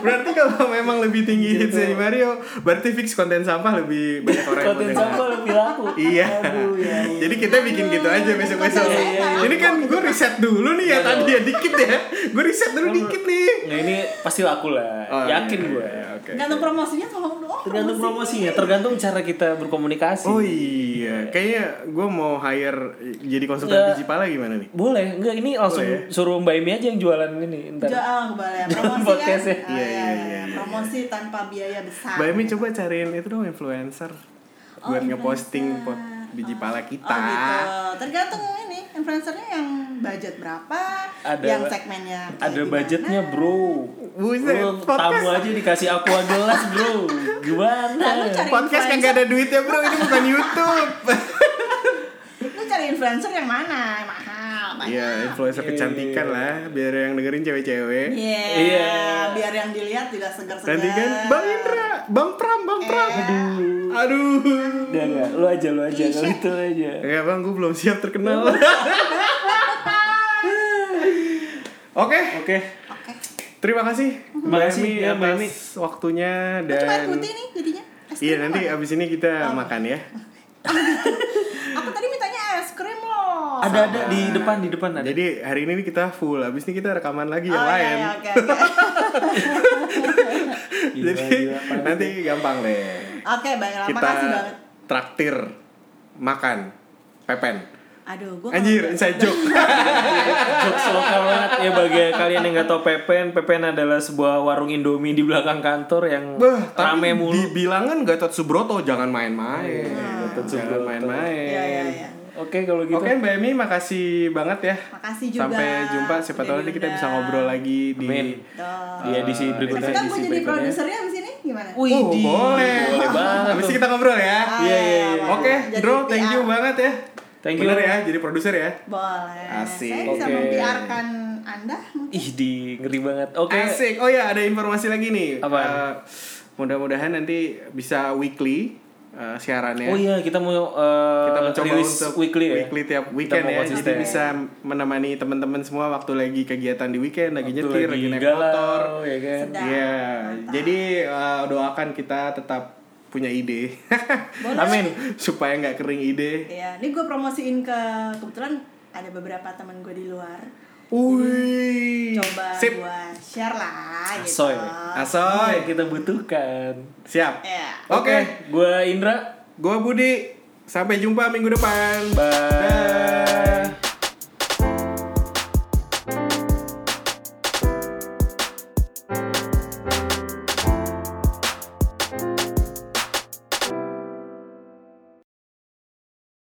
[SPEAKER 1] berarti kalau memang lebih tinggi hitsnya Himario, berarti fix konten sampah lebih banyak orang yang
[SPEAKER 2] Konten
[SPEAKER 1] mendengar.
[SPEAKER 2] sampah lebih laku.
[SPEAKER 1] Iya.
[SPEAKER 2] Aduh ya.
[SPEAKER 1] Jadi kita bikin gitu aja besok-besok.
[SPEAKER 3] Iya, iya, iya.
[SPEAKER 1] Ini kan gue riset dulu
[SPEAKER 2] Iya,
[SPEAKER 1] nih ya tadi ya dikit ya. Gue riset dulu dikit nih.
[SPEAKER 2] Nah ini pasti laku lah.
[SPEAKER 1] Oh,
[SPEAKER 2] Yakin
[SPEAKER 1] iya,
[SPEAKER 2] gue.
[SPEAKER 1] iya, Oke.
[SPEAKER 3] Gantung promosinya oh, tolong dong.
[SPEAKER 2] Tergantung promosinya, tergantung cara kita berkomunikasi.
[SPEAKER 1] Oh iya, kayaknya gue mau hire jadi konsultan
[SPEAKER 2] Nggak.
[SPEAKER 1] biji pala gimana nih?
[SPEAKER 2] Boleh, enggak ini langsung
[SPEAKER 1] Boleh ya.
[SPEAKER 2] suruh Mbak Imi aja yang jualan ini ntar.
[SPEAKER 3] Jauh ah, boleh
[SPEAKER 2] Dalam
[SPEAKER 3] promosi kan.
[SPEAKER 2] podcastnya.
[SPEAKER 1] Iya,
[SPEAKER 3] Ah, iya,
[SPEAKER 1] iya,
[SPEAKER 3] iya.
[SPEAKER 1] iya, iya.
[SPEAKER 3] Promosi tanpa biaya besar.
[SPEAKER 1] Mbak Emi coba cariin itu dong influencer
[SPEAKER 3] Oh,
[SPEAKER 1] buat ngeposting
[SPEAKER 3] influencer.
[SPEAKER 1] pot biji pala kita.
[SPEAKER 3] Oh gitu. Tergantung ini influencernya yang budget berapa,
[SPEAKER 2] Ada-
[SPEAKER 3] yang segmennya. kayak
[SPEAKER 2] Ada
[SPEAKER 3] gimana.
[SPEAKER 2] budgetnya, Bro.
[SPEAKER 1] Buset,
[SPEAKER 2] Lu tamu
[SPEAKER 1] podcast.
[SPEAKER 2] aja dikasih aqua gelas, Bro.
[SPEAKER 3] Nah, lu
[SPEAKER 2] Gimana?
[SPEAKER 3] cari
[SPEAKER 1] Podcast
[SPEAKER 3] influencer,
[SPEAKER 1] kagak ada duitnya bro, ini bukan YouTube.
[SPEAKER 3] lu cari influencer yang mana? Yang mahal, lah ya.
[SPEAKER 1] Iya, influencer kecantikan lah, biar yang dengerin cewek-cewek.
[SPEAKER 3] Iya,
[SPEAKER 2] Iya.
[SPEAKER 3] biar yang dilihat juga segar-segar.
[SPEAKER 1] Nanti kan Bang Indra, Bang Pram, Bang
[SPEAKER 3] Iya.
[SPEAKER 1] Pram. Aduh. Aduh.
[SPEAKER 2] Udah Iya, enggak, lu aja lu aja,
[SPEAKER 1] Iya.
[SPEAKER 2] lu itu aja.
[SPEAKER 1] Enggak Bang, gue belum siap terkenal. Oke,
[SPEAKER 2] Oke.
[SPEAKER 3] Oke.
[SPEAKER 1] terima kasih.
[SPEAKER 2] Terima kasih
[SPEAKER 1] Mbak Emi
[SPEAKER 2] ya, Mbak
[SPEAKER 1] atas
[SPEAKER 2] Emi.
[SPEAKER 1] waktunya
[SPEAKER 3] Kok Cuma Oh. air
[SPEAKER 1] dan
[SPEAKER 3] putih nih jadinya. Es
[SPEAKER 1] Iya,
[SPEAKER 3] krim
[SPEAKER 1] nanti
[SPEAKER 3] loh.
[SPEAKER 1] abis ini kita makan ya.
[SPEAKER 3] Aku tadi mintanya es krim loh.
[SPEAKER 2] Ada ada di depan di depan ada.
[SPEAKER 1] Oh, Jadi hari ini kita full, abis ini kita rekaman lagi
[SPEAKER 3] Oh,
[SPEAKER 1] yang
[SPEAKER 3] iya,
[SPEAKER 1] lain.
[SPEAKER 3] iya, oke, oke.
[SPEAKER 2] Gila,
[SPEAKER 1] Jadi
[SPEAKER 2] gila, Pak.
[SPEAKER 1] nanti gampang deh.
[SPEAKER 3] Oke, baiklah.
[SPEAKER 1] Kita
[SPEAKER 3] Makasih banget.
[SPEAKER 1] traktir makan pepen.
[SPEAKER 3] Aduh, gue
[SPEAKER 1] Anjir, inside joke.
[SPEAKER 2] Jokes lokal banget ya bagi kalian yang nggak tahu Pepen. Pepen adalah sebuah warung Indomie di belakang kantor yang
[SPEAKER 1] Bah, tapi
[SPEAKER 2] rame mulu. Iya,
[SPEAKER 1] dibilangan Gatot Subroto jangan main-main.
[SPEAKER 2] Gatot
[SPEAKER 1] Jangan
[SPEAKER 2] Subroto.
[SPEAKER 1] main-main.
[SPEAKER 3] Nah. Iya, iya, iya.
[SPEAKER 2] Oke kalau gitu.
[SPEAKER 1] Oke Mbak Emi makasih banget ya.
[SPEAKER 3] Makasih juga.
[SPEAKER 1] Sampai jumpa siapa
[SPEAKER 3] Udah
[SPEAKER 1] tahu nanti kita bisa
[SPEAKER 3] diundang.
[SPEAKER 1] ngobrol lagi di
[SPEAKER 2] Amin.
[SPEAKER 3] Duh.
[SPEAKER 2] Di edisi berikutnya.
[SPEAKER 3] Tapi kan gue
[SPEAKER 1] edisi
[SPEAKER 3] jadi
[SPEAKER 1] berikutnya.
[SPEAKER 3] produsernya abis ini gimana?
[SPEAKER 2] Wih,
[SPEAKER 1] Oh,
[SPEAKER 2] di-
[SPEAKER 1] boleh.
[SPEAKER 2] boleh banget.
[SPEAKER 1] Habis
[SPEAKER 2] tuh.
[SPEAKER 1] kita ngobrol ya.
[SPEAKER 3] Ah,
[SPEAKER 2] Iya, iya, iya.
[SPEAKER 3] boleh.
[SPEAKER 1] Oke,
[SPEAKER 3] Jadi
[SPEAKER 1] Bro, thank you
[SPEAKER 3] PR.
[SPEAKER 1] banget ya.
[SPEAKER 2] Thank
[SPEAKER 1] Bener
[SPEAKER 2] you.
[SPEAKER 1] ya, jadi produser ya.
[SPEAKER 3] Boleh.
[SPEAKER 1] Asik.
[SPEAKER 3] Saya bisa
[SPEAKER 2] Oke.
[SPEAKER 3] membiarkan Anda mungkin.
[SPEAKER 2] Ih, di ngeri banget. Oke.
[SPEAKER 1] Asik. Oh ya, ada informasi lagi nih.
[SPEAKER 2] Apaan?
[SPEAKER 1] Eh, mudah-mudahan nanti bisa weekly eh, siarannya.
[SPEAKER 2] Oh iya, kita mau eh,
[SPEAKER 1] kita mencoba
[SPEAKER 2] rilis
[SPEAKER 1] untuk
[SPEAKER 2] weekly ya.
[SPEAKER 1] tiap
[SPEAKER 2] Kita
[SPEAKER 1] weekend
[SPEAKER 2] mau
[SPEAKER 1] ya jadi
[SPEAKER 2] konsisten.
[SPEAKER 1] bisa menemani teman-teman semua waktu lagi kegiatan di weekend lagi
[SPEAKER 2] Waktu
[SPEAKER 1] nyetir lagi, naik
[SPEAKER 2] galau,
[SPEAKER 1] motor
[SPEAKER 2] ya kan.
[SPEAKER 3] Sedap.
[SPEAKER 1] Iya, jadi uh, doakan kita tetap punya ide
[SPEAKER 3] Boleh.
[SPEAKER 2] Amin.
[SPEAKER 1] supaya nggak kering ide.
[SPEAKER 3] Iya, ini gue promosiin ke kebetulan ada beberapa teman gue di luar.
[SPEAKER 1] Wih,
[SPEAKER 3] Coba
[SPEAKER 1] sip,
[SPEAKER 3] gue share lah gitu.
[SPEAKER 2] Asoy. Oh, yang
[SPEAKER 1] asoy,
[SPEAKER 2] kita butuhkan. Eh,
[SPEAKER 1] siap.
[SPEAKER 3] Iya.
[SPEAKER 1] Oke,
[SPEAKER 2] Gua Indra.
[SPEAKER 1] gua Budi, sampai jumpa minggu depan.
[SPEAKER 2] Bye.
[SPEAKER 1] Dah.